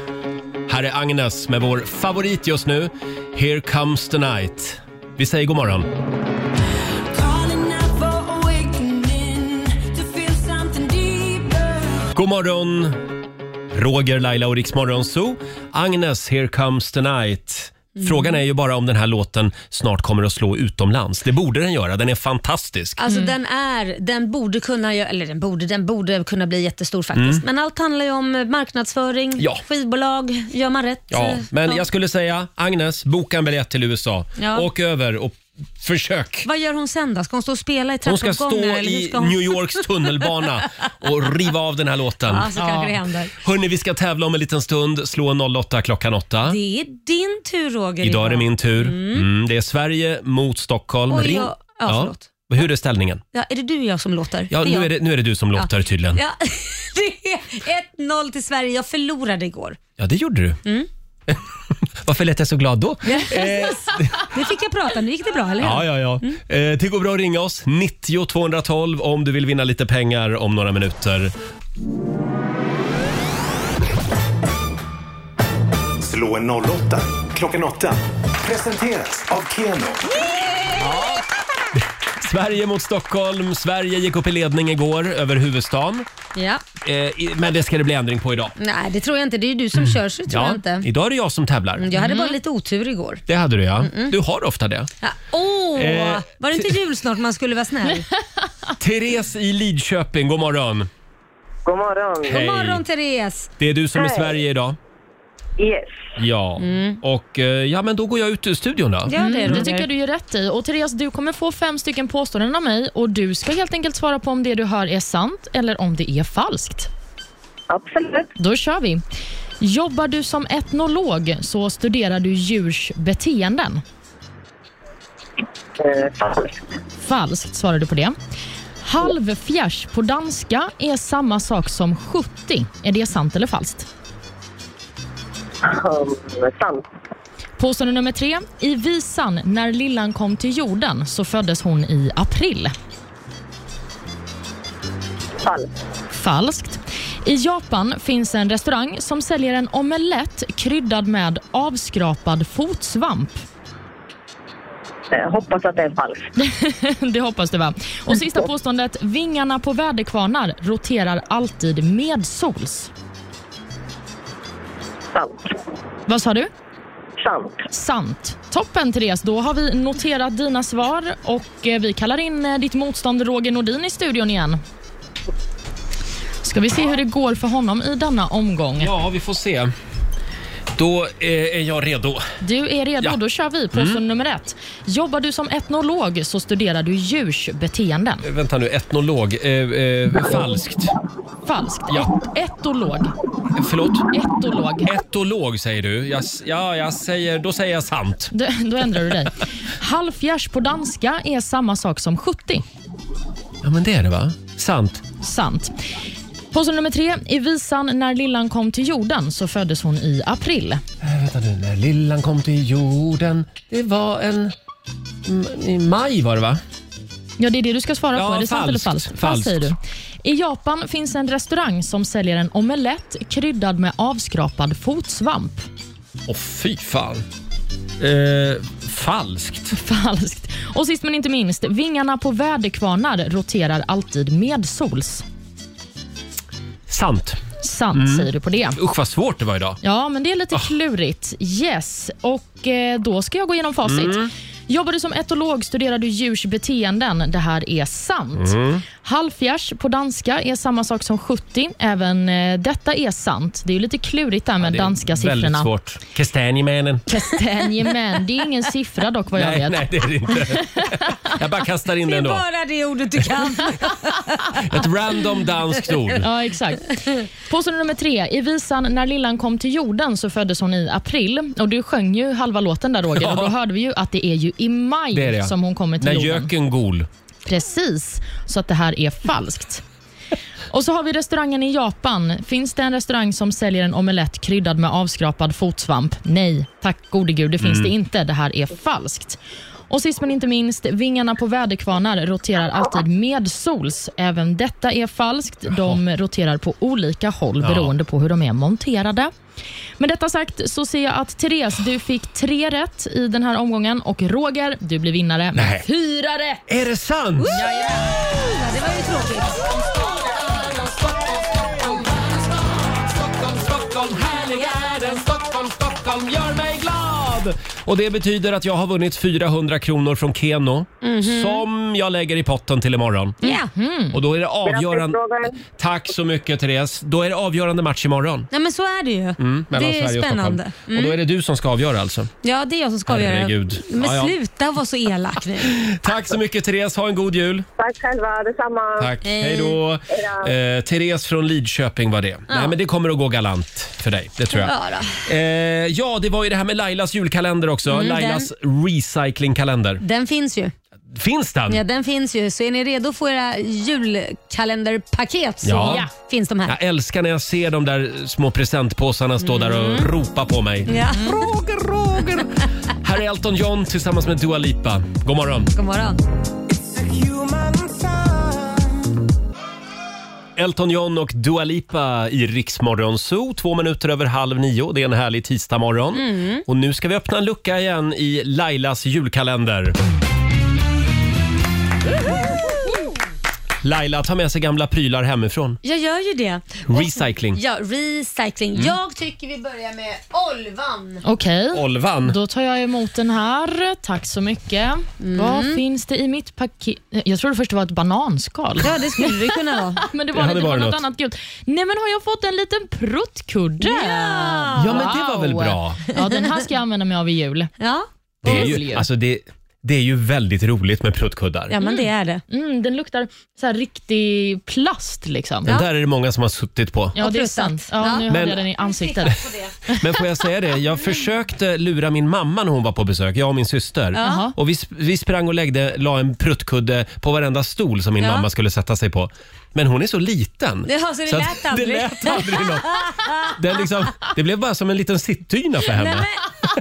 S1: Här är Agnes med vår favorit just nu. Here comes the night. Vi säger god morgon. God morgon, Roger, Laila och Riksmorgon Zoo. Agnes, here comes the night. Frågan är ju bara om den här låten snart kommer att slå utomlands. Det borde den göra. Den är fantastisk.
S2: Alltså den är, den borde kunna, gö- eller den borde, den borde kunna bli jättestor faktiskt.
S1: Mm.
S2: Men allt handlar ju om eh, marknadsföring,
S1: Ja.
S2: skivbolag, gör man rätt?
S1: Ja,
S2: eh,
S1: men
S2: ja.
S1: jag skulle säga Agnes, boka en biljett till USA.
S2: Ja.
S1: Åk över och försök.
S2: Vad gör hon sen då? Ska hon stå och spela i
S1: Hon ska
S2: trappuppgångar?
S1: stå
S2: eller hur
S1: i
S2: ska hon-
S1: New Yorks tunnelbana och riva av den här låten.
S2: Ja, så kanske det händer.
S1: Hörni, vi ska tävla om en liten stund. Slå 08 klockan 8.
S2: Det är din tur Roger.
S1: Idag är det min tur.
S2: Mm.
S1: Mm, det är Sverige mot Stockholm.
S2: Oj,
S1: Ring-
S2: ja. Ja, förlåt.
S1: Hur är ställningen?
S2: Ja, är det du och jag som låter?
S1: Ja, nu, är det, nu är det du som
S2: jag.
S1: låter tydligen.
S2: Ja, det är 1-0 till Sverige. Jag förlorade igår.
S1: Ja, det gjorde du.
S2: Mm.
S1: Varför lät jag så glad då?
S2: Nu fick jag prata. Nu gick det bra, eller hur?
S1: Eh. Ja, ja, ja.
S2: Mm.
S1: Eh, det går bra att ringa oss. 90 212 om du vill vinna lite pengar om några minuter.
S4: Slå en 08 klockan 8. Presenteras av Keno.
S1: Sverige mot Stockholm. Sverige gick upp i ledning igår över huvudstaden.
S2: Ja.
S1: Eh, i- men det ska det bli ändring på idag.
S2: Nej, det tror jag inte. Det är ju du
S1: Mm.
S2: som kör, så det tror jag inte.
S1: Idag är det jag som tävlar.
S2: Mm, Jag hade bara lite otur igår.
S1: Det hade du ja. Du har ofta det.
S2: Ja, Åh,
S1: Eh,
S2: var det inte jul snart man skulle vara snäll?
S1: Therese i Lidköping, god morgon.
S13: God morgon.
S1: Hej.
S2: God morgon Therese.
S1: Det är du som är
S2: Hej. Mm.
S1: Sverige idag.
S13: Yes.
S1: Ja, och eh, ja men då går jag ut ur studion då.
S3: Mm, det tycker jag du gör rätt i. Och Therese, du kommer få fem stycken påståenden av mig och du ska helt enkelt svara på om det du hör är sant eller om det är falskt.
S13: Absolut.
S3: Då kör vi. Jobbar du som etnolog så studerar du djurs beteenden.
S13: Eh, falskt.
S3: Falskt svarar du på det. Halvfjärs på danska är samma sak som 70. Är det sant eller falskt?
S13: Um, sant.
S3: Påstående nummer tre. I visan När lillan kom till jorden så föddes hon i april.
S13: Falskt.
S3: Falskt. I Japan finns en restaurang som säljer en omelett kryddad med avskrapad fotsvamp.
S13: Eh, hoppas att det är falskt.
S3: det hoppas du va? Och sista påståendet. Vingarna på väderkvarnar roterar alltid medsols.
S13: Sant.
S3: Vad sa du?
S13: Sant.
S3: Sant. Toppen Therese, då har vi noterat dina svar och eh, vi kallar in eh, ditt motstånd Roger Nordin i studion igen. Ska vi se hur det går för honom i denna omgång.
S1: Ja, vi får se. Då eh, är jag redo.
S3: Du är redo,
S1: Ja.
S3: då kör vi. Påstående
S1: Mm.
S3: nummer ett. Jobbar du som etnolog så studerar du djurs beteenden.
S1: Eh, Vänta nu, etnolog. Eh, eh, falskt.
S3: Falskt.
S1: Ja.
S3: Etolog.
S1: Förlåt?
S3: Etolog.
S1: Etolog säger du. Jag, s- ja, jag säger, då säger jag sant.
S3: Då, då ändrar du dig. Halvfjärs på danska är samma sak som 70.
S1: Ja, men det är det va? Sant.
S3: Sant. Påstående nummer tre. I visan När lillan kom till jorden så föddes hon i april.
S14: Äh, vänta nu, när lillan kom till jorden. Det var en... m- I maj var det va?
S3: Ja, det är det du ska svara
S14: Ja,
S3: på. Är det sant eller
S14: falskt.
S3: falskt?
S14: Falskt.
S3: säger du. I Japan finns en restaurang som säljer en omelett kryddad med avskrapad fotsvamp.
S1: Åh fy fan. Eh, falskt.
S3: Falskt. Och sist men inte minst, vingarna på väderkvarnar roterar alltid medsols.
S1: Sant.
S3: Sant
S14: Mm.
S3: säger du på det.
S1: Usch vad svårt det var idag.
S3: Ja, men det är
S1: Ah.
S3: lite klurigt. Yes. Och eh, då ska jag gå igenom facit.
S1: Mm.
S3: Jobbar du som etolog studerar du djurs beteenden. Det här är sant.
S12: Mm.
S3: Halvfjerds på danska är samma sak som 70. Även eh, detta är sant. Det är ju lite klurigt där med
S1: Det är
S3: danska
S1: Väldigt
S3: siffrorna.
S1: svårt. Kastanjemännen.
S3: Kastanjemän. Det är ingen siffra dock vad jag
S1: nej,
S3: vet.
S1: nej, det är det inte. Jag bara kastar in det ändå.
S3: det ordet du kan.
S1: Ett random danskt ord.
S3: Ja, exakt. Påstående nummer tre. I visan När lillan kom till jorden så föddes hon i april. Och Du sjöng ju halva låten där Roger och då
S1: Ja.
S3: hörde vi ju att det är ju i maj
S1: Det är det. ja.
S3: som hon kommer till
S1: När
S3: jorden.
S1: göken gol.
S3: Precis, så att det här är falskt. Och så har vi restaurangen i Japan. Finns det en restaurang som säljer en omelett kryddad med avskrapad fotsvamp? Nej, tack gode gud, det finns
S12: Mm.
S3: det inte. Det här är falskt. Och sist men inte minst, vingarna på väderkvarnar roterar alltid med sols. Även detta är falskt. De roterar på olika håll
S12: Ja.
S3: beroende på hur de är monterade. Med detta sagt så ser jag att Therese, du fick tre rätt i den här omgången och Roger, du blir vinnare
S12: Nej.
S3: med fyra rätt.
S1: Är det sant?
S2: Ja, det var ju tråkigt.
S12: Stockholm, Stockholm, härlig är den. Stockholm, Stockholm, gör mig glad.
S1: Och det betyder att jag har vunnit 400 kronor från Keno
S12: Mhm.
S1: som jag lägger i potten till imorgon.
S2: Ja.
S1: Och då är det avgörande...
S2: Grattis,
S1: Tack så mycket Therese. Då är det avgörande match imorgon.
S2: Nej men så är det ju.
S1: Mm, mellan
S2: det är
S1: Sverige och
S2: spännande.
S1: Stockholm.
S2: Mm.
S1: Och då är det du som ska avgöra alltså.
S2: Ja, det är jag som ska avgöra.
S1: Herregud.
S2: Men
S1: Ja, ja.
S2: sluta vara så elak nu.
S1: Tack så mycket Therese. Ha en god jul.
S13: Tack själva, detsamma.
S1: Tack. Hej då. Eh, Therese från Lidköping var det. Nej, men det kommer att gå galant för dig. Det tror jag.
S12: Ja
S1: Eh, ja, det var ju det här med Lailas julkalender också.
S2: Mm,
S1: Lailas recyclingkalender.
S2: Den finns ju.
S1: Finns den?
S2: Ja, den finns ju. Så är ni redo för era julkalenderpaket så
S1: Ja.
S2: finns de här.
S1: Jag älskar när jag ser de där små presentpåsarna stå där och ropa på mig.
S2: Ja.
S1: Roger, Roger! Här är Elton John tillsammans med Dua Lipa. God morgon!
S2: God morgon.
S1: Elton John och Dua Lipa i Riksmorgon Zoo. Två minuter över halv nio. Det är en härlig tisdagmorgon.
S12: Mm.
S1: Och nu ska vi öppna en lucka igen i Lailas julkalender. Laila tar med sig gamla prylar hemifrån.
S2: Jag gör ju det.
S1: Recycling.
S2: Ja, recycling.
S1: Mm.
S2: Jag tycker vi börjar med Olvan.
S3: Okej.
S1: Olvan.
S3: Då tar jag emot den här. Tack så mycket. Vad finns det i mitt paket? Jag trodde först det var ett bananskal.
S2: Ja, det skulle det kunna vara.
S3: men det
S1: Det
S3: var, det
S1: hade
S3: det var
S1: varit
S3: något,
S1: något.
S3: annat gult. Nej, men har jag fått en liten pruttkudde?
S1: Ja! Ja, men det var väl bra.
S3: Ja, den här ska jag använda mig av i jul.
S2: Ja,
S1: Det är ju, alltså det, det är ju väldigt roligt med pruttkuddar.
S2: är det.
S3: Mm, den luktar så här riktig plast liksom.
S1: Den där är det många som har suttit på.
S3: Ja, det är sant. Ja, nu
S1: Ja.
S3: hade
S1: Men-
S3: jag den i ansiktet.
S1: Men får jag säga det? Jag försökte lura min mamma när hon var på besök, jag och min syster.
S3: Jaha.
S1: Och vi, sp- vi sprang och läggde, la en pruttkudde på varenda stol som min
S2: Ja.
S1: mamma skulle sätta sig på. Men hon är så liten.
S2: Det, alltså, det,
S1: Så att-
S2: lät aldrig.
S1: Det lät aldrig något. Den liksom, det blev bara som en liten sittdyna för
S2: Nej,
S1: henne.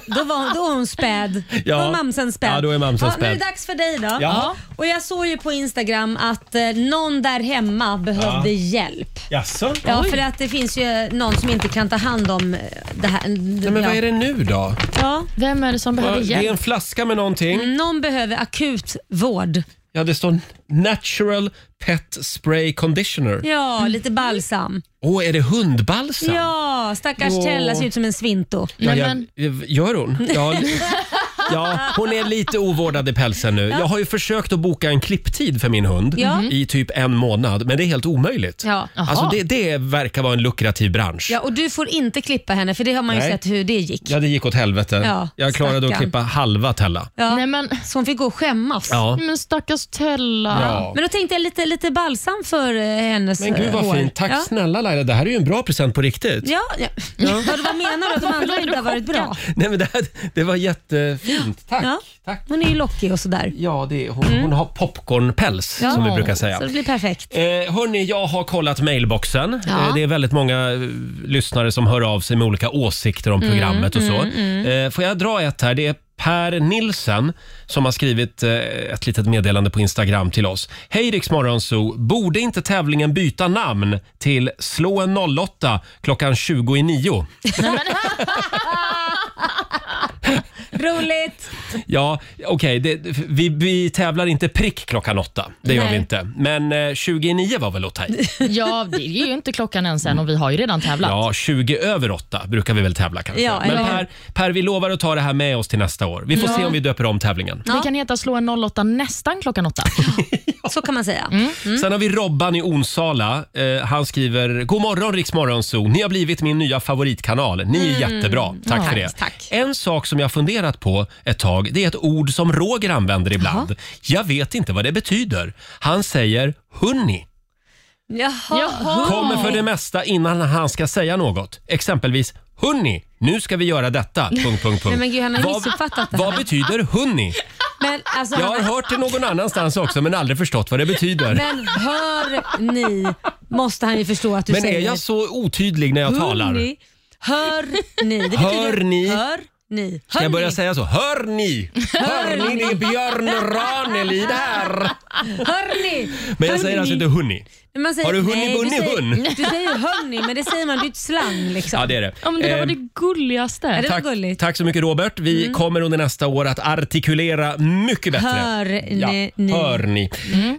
S2: men, då, var, då var hon späd.
S1: Ja.
S2: Då var mamsen späd.
S1: Ja, då är mamsen
S2: Nu är det
S1: späd.
S2: dags för dig då.
S1: Ja.
S2: Och Jag såg ju på Instagram att eh, någon där hemma behövde
S1: Ja.
S2: hjälp.
S1: Jaså?
S2: Ja, för att det finns ju någon som inte kan ta hand om eh, det här.
S1: Nej, men vad är det nu då?
S2: Ja.
S3: Vem är det som
S1: Vad- Det är en flaska med någonting.
S2: Någon behöver akut vård.
S1: Ja, det står natural pet spray conditioner.
S2: Ja, lite balsam.
S1: Åh, är det hundbalsam?
S2: Ja, stackars
S1: Åh.
S2: Tella ser ut som en svinto.
S1: Ja, jag, gör hon? Ja, ja, hon är lite ovårdad i pälsen nu. Jag har ju försökt att boka en klipptid för min hund
S2: Ja.
S1: i typ en månad, men det är helt omöjligt.
S2: Ja.
S1: Alltså det, det verkar vara en lukrativ bransch.
S2: ja, och du får inte klippa henne för det har man ju
S1: Nej.
S2: sett hur det gick.
S1: Ja, det gick åt helvete.
S2: Ja,
S1: jag klarade att
S2: stackarn.
S1: klippa halva Tella.
S2: Ja. Nej, men... Så hon fick gå och skämmas.
S1: Ja.
S3: Men stackars Tella.
S1: Ja.
S2: Men då tänkte jag lite, lite balsam för eh, hennes
S1: Men gud
S2: eh,
S1: vad
S2: hår.
S1: fint. Tack
S2: ja.
S1: snälla Laila. Det här är ju en bra present på riktigt.
S2: Ja, ja. Vad menar du? Att de andra inte har varit bra?
S1: Nej, men det, här, det var jättefint. fint. Tack.
S2: Ja. Hon är ju lockig och sådär.
S1: Ja, det är hon. Hon har popcornpäls
S2: Ja,
S1: som vi brukar säga.
S2: Så det blir perfekt.
S1: Eh, hörni, jag har kollat mailboxen.
S2: Ja.
S1: Eh, det är väldigt många eh, lyssnare som hör av sig med olika åsikter om
S2: Mm,
S1: programmet och så.
S2: mm, mm.
S1: Eh, får jag dra ett här? Det är Per Nilsen som har skrivit eh, ett litet meddelande på Instagram till oss. Hej Rix Morgonzoo! Borde inte tävlingen byta namn till Slå en 08 klockan 20 i nio?
S2: Roligt!
S1: Ja, okej. det- vi, vi tävlar inte prick klockan åtta. Det gör
S3: Nej.
S1: vi inte. Men eh, 29 var väl att ta i?
S3: Ja, det är ju inte klockan än sen och vi har ju redan tävlat.
S1: Ja, 20 över åtta brukar vi väl tävla kanske.
S3: Ja,
S1: Men
S3: eller-
S1: per, per, vi lovar att ta det här med oss till nästa år. Vi får
S3: Ja.
S1: se om vi döper om tävlingen.
S3: Det kan heta slå en 08 nästan klockan åtta.
S2: Så kan man säga.
S1: Sen har vi Robban i Onsala. Eh, han skriver “God morgon Rix Morgonzoo. Ni har blivit min nya favoritkanal. Ni är
S2: Mm.
S1: jättebra. Tack
S2: Ja.
S1: för det.
S2: Tack, tack.
S1: En sak som jag funderat på ett tag, det är ett ord som Roger använder ibland. Jag vet inte vad det betyder. Han säger “hunni”.
S2: Jaha.
S1: kommer för det mesta innan han ska säga något. Exempelvis “hunni, nu ska vi göra detta...” punkt, punkt, punkt.
S2: Nej, men gud, han har
S1: Vad-
S2: missuppfattat det här.
S1: Vad betyder “hunni”?
S2: Men alltså,
S1: Jag har
S2: han-
S1: hört det någon annanstans också men aldrig förstått vad det betyder.
S2: Men hör ni, måste han ju förstå att du
S1: Men
S2: säger.
S1: är jag så otydlig när jag talar?
S2: Hörni, hör ni. Det betyder,
S1: Hör ni.
S2: Hör ni.
S1: Ska
S2: Hör
S1: jag börja
S2: ni.
S1: säga så? Hör ni? Hör ni, det är Björn Ranelid här?
S2: Hör ni.
S1: Men jag säger
S2: Hörni.
S1: alltså inte hunni.
S2: Man säger,
S1: Har du hunni
S2: nej,
S1: bunni
S2: du säger,
S1: hunn?
S2: Du säger hörni, men det säger man. Det är ju ett slang liksom.
S1: Ja, det är det.
S3: Ja, men det där var
S1: Eh,
S3: det gulligaste.
S2: Ja, det var
S1: Tack,
S2: gulligt. Mm.
S1: tack så mycket Robert. Vi kommer under nästa år att artikulera mycket bättre.
S2: Hör ni-
S1: Ja,
S2: ni.
S1: hör ni.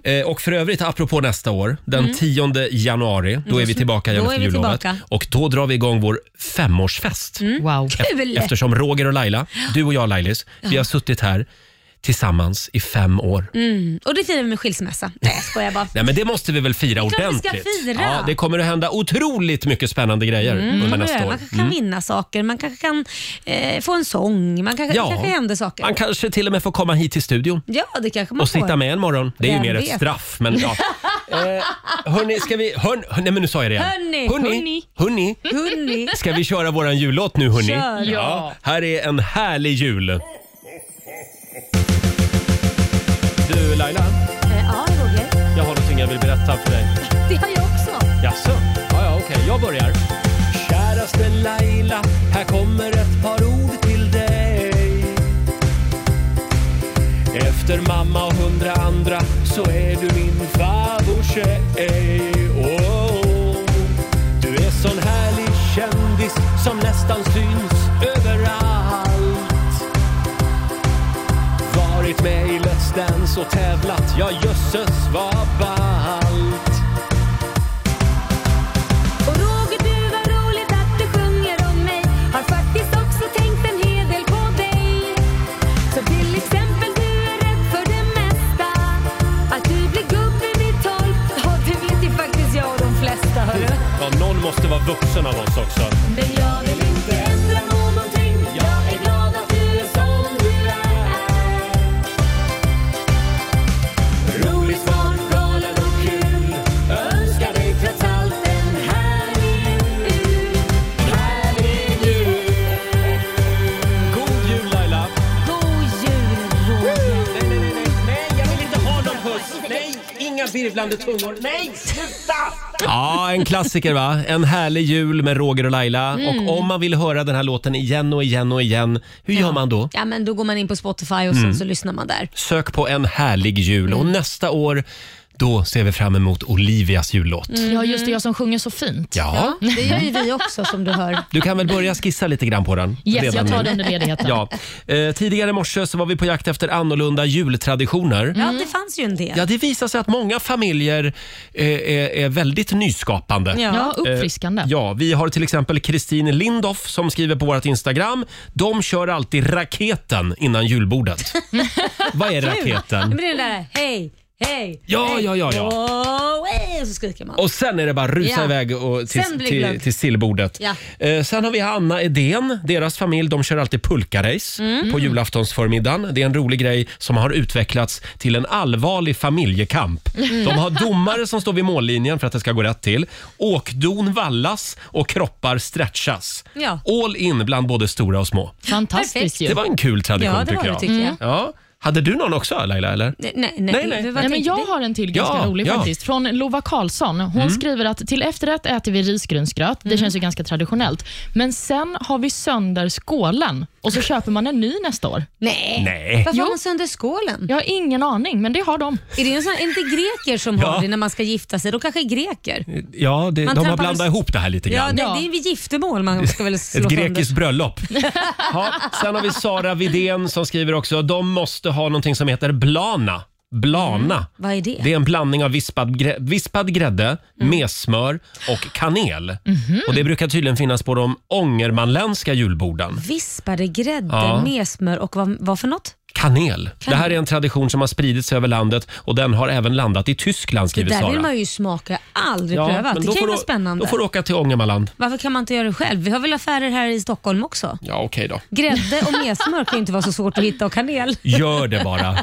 S1: Eh, och för övrigt, apropå nästa år, den
S2: Mm.
S1: 10 januari, då är vi tillbaka igen
S2: Då
S1: efter
S2: är vi
S1: jullovet.
S2: tillbaka. Mm.
S1: Och då drar vi igång vår femårsfest.
S3: Wow.
S1: E- Eftersom Roger och Laila, du och jag Lailis, vi har suttit här tillsammans i fem år.
S2: Mm. Och det firar vi med skilsmässa. Nej, jag skojar bara.
S1: Nej, men det måste vi väl fira
S2: Det är klart vi ska
S1: ordentligt?
S2: fira.
S1: Ja, det kommer att hända otroligt mycket spännande grejer
S2: Mm,
S1: under
S2: man,
S1: nästa
S2: gör.
S1: år.
S2: man kanske kan
S1: Mm.
S2: vinna saker, man kanske kan eh, få en sång, man kanske,
S1: Ja.
S2: det kanske händer saker.
S1: Man kanske till och med får komma hit till studion.
S2: Ja, det kanske man
S1: och
S2: får.
S1: sitta med en morgon. Det är ju
S2: Vem
S1: mer ett
S2: vet?
S1: straff. Men ja. eh, hörni, ska vi... Hörn, nej men nu sa jag det igen.
S2: Hörni,
S1: hörni, hörni.
S2: Hörni.
S1: Ska vi köra våran jullåt nu hörni?
S2: Kör. Ja.
S1: Här är en härlig jul. Du Laila,
S2: Eh, ja, Roger.
S1: jag har någonting jag vill berätta för dig.
S2: Det har jag också.
S1: Jaså? Ja, ja, okej. Jag börjar. Käraste Laila, här kommer ett par ord till dig. Efter mamma och hundra andra så är du min favorittjej. Oh, du är sån härlig kändis som nästan syns överallt. Varit med i Let's Dance och tävlat, ja jösses vad ballt.
S12: Och Roger, du var roligt att du sjunger om mig. Har faktiskt också tänkt en hel del på dig. Så till exempel, du är rädd för det mesta. Att du blir gubbe vid tolv. Ja, det vet ju faktiskt jag och de flesta, hörru.
S1: Ja, någon måste vara vuxen av oss också.
S12: Men jag vill inte ändra någonting. Jag är glad att du är som du är. Rolig, smart, galen och kul. Önskar dig trots allt en härlig jul. Härlig jul.
S1: God jul Laila!
S2: God jul Roger.
S1: Nej, nej, nej, nej, nej, jag vill inte ha någon puss! Nej, inga virvlande tungor! Nej, sluta! Ja, en klassiker va? En härlig jul med Roger och Laila.
S2: Mm.
S1: Och om man vill höra den här låten igen och igen och igen, hur gör man då?
S2: Ja, men då går man in på Spotify och sen
S1: Mm.
S2: så lyssnar man där.
S1: Sök på en härlig jul och nästa år, då ser vi fram emot Olivias jullåt.
S3: Ja, just det. Jag som sjunger så fint.
S1: Mm. Ja.
S2: Det gör ju vi också som du hör.
S1: Du kan väl börja skissa lite grann på den?
S3: Yes,
S1: redan
S3: jag tar
S1: nu.
S3: det under ledigheten.
S1: Ja. Eh, tidigare i morse så var vi på jakt efter annorlunda jultraditioner.
S2: Ja, det fanns ju en del.
S1: Ja, det visar sig att många familjer eh, är, är väldigt nyskapande.
S2: Ja. Ja,
S3: uppfriskande.
S1: Eh, ja, vi har till exempel Kristin Lindoff som skriver på vårt Instagram. De kör alltid raketen innan julbordet. Vad är
S2: Kul. Ja,
S1: raketen?
S2: Men det är den där, hej, hej,
S1: Ja,
S2: hej,
S1: ja, ja, ja.
S2: Oh, hey, så skriker man.
S1: Och sen är det bara att rusa
S2: Ja.
S1: iväg och till,
S2: Sen blir det
S1: till,
S2: glömt.
S1: till sillbordet.
S2: Ja.
S1: Eh, sen har vi Anna Edén. Deras familj de kör alltid pulkarace
S2: Mm.
S1: på julaftonsförmiddagen. Det är en rolig grej som har utvecklats till en allvarlig familjekamp.
S12: Mm.
S1: De har domare som står vid mållinjen för att det ska gå rätt till. Åkdon vallas och kroppar stretchas.
S2: Ja.
S1: All in bland både stora och små.
S3: Fantastiskt ju.
S1: Det var en kul tradition
S3: Ja, det
S1: tycker
S3: var det,
S1: jag.
S3: tycker jag.
S1: Ja. Hade du någon också Laila? Eller?
S3: Nej,
S2: nej,
S1: Nej, nej. vad
S3: Nej, men
S1: tänkte
S3: jag har en till
S1: Ja,
S3: ganska rolig
S1: ja.
S3: faktiskt. Från Lova Karlsson. Hon
S1: Mm.
S3: skriver att till efterrätt äter vi risgrynsgröt. Det känns ju ganska traditionellt. Men sen har vi sönder skålen och så köper man en ny nästa år.
S2: Nej.
S1: Nej.
S2: Varför har man sönder skålen?
S3: Jag har ingen aning, men det har de.
S2: Är det en sån, är det inte greker som
S1: Ja.
S2: har det när man ska gifta sig? De kanske är greker?
S1: Ja, det,
S2: Man
S1: de har
S2: trampar-
S1: blandat ihop det här lite
S2: Ja,
S1: grann.
S2: det, det är vid giftermål man ska väl slå
S1: Ett
S2: sönder.
S1: grekiskt bröllop. Ja, sen har vi Sara Vidén som skriver också de måste ha någonting som heter blana. Blana.
S2: Vad är det?
S1: Det är en blandning av vispad, grä, vispad grädde,
S2: Mm.
S1: med smör och kanel.
S2: Mhm.
S1: Och Det brukar tydligen finnas på de ångermanländska julborden.
S2: Vispade grädde
S1: Ja.
S2: med smör och vad, vad för något?
S1: Kanel. Det här är en tradition som har spridits över landet och den har även landat i Tyskland
S2: Det
S1: skriver
S2: där vill
S1: Sara.
S2: man ju smaka. Aldrig
S1: Ja,
S2: prövat.
S1: men
S2: Det
S1: då
S2: kan ju
S1: får
S2: vara
S1: du-
S2: spännande.
S1: Då får du åka till Ångermanland.
S2: Varför kan man inte göra det själv? Vi har väl affärer här i Stockholm också?
S1: Ja, okej då.
S2: Grädde och messmör kan ju inte vara så svårt att hitta och kanel.
S1: Gör det bara.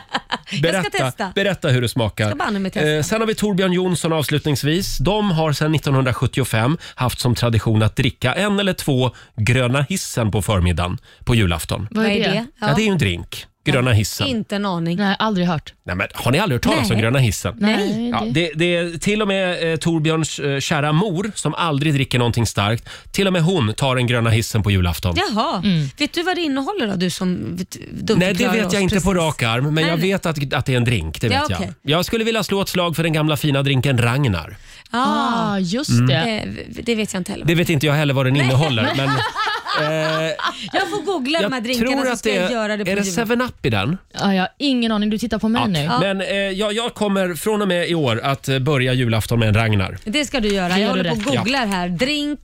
S1: Berätta,
S2: testa.
S1: berätta hur det
S2: Ska banne mig
S1: smakar. Eh,
S2: testa.
S1: sen har vi Torbjörn Jonsson avslutningsvis. De har sedan 1975 haft som tradition att dricka en eller två Gröna hissen på förmiddagen på julafton.
S2: Vad är Vad är det? det?
S1: Ja.
S2: Ja.
S1: det är ju en drink. Gröna hissen.
S2: Inte en aning.
S3: Nej, aldrig hört.
S1: Nej, men, har ni aldrig hört talas om
S2: Nej.
S1: Gröna hissen?
S2: Nej.
S1: Ja, det, det är till och med eh, Torbjörns eh, kära mor som aldrig dricker någonting starkt. Till och med hon tar en Gröna hissen på julafton.
S2: Jaha. Vet du vad det innehåller då? Du som vet-
S1: Mm. Nej, det
S2: dumförklarar
S1: vet
S2: oss
S1: jag inte
S2: precis.
S1: på rak arm, men
S2: Nej,
S1: jag
S2: nej.
S1: vet att, att det är en drink. Det
S2: Ja,
S1: vet
S2: okej.
S1: jag. jag skulle vilja slå ett slag för den gamla fina drinken Ragnar.
S2: Ah,
S3: just
S1: Mm.
S2: det. Eh, Det vet jag inte heller.
S1: Det vet inte jag heller vad den
S2: Nej.
S1: innehåller. Men, eh,
S2: Jag får googla de här
S1: jag
S2: drinkarna
S1: tror
S2: så
S1: att
S2: ska
S1: det
S2: jag
S1: är...
S2: göra det på
S1: är det
S2: jul.
S1: 7-Up i den?
S3: Ja, jag har ingen aning. Du tittar på mig nu.
S1: Men eh, jag, jag kommer från och med i år att eh, börja julafton med en Ragnar.
S2: Det ska du
S1: Det
S2: göra.
S1: gör
S2: Jag
S1: du
S2: håller på
S1: rätt.
S2: och googlar här. Drink,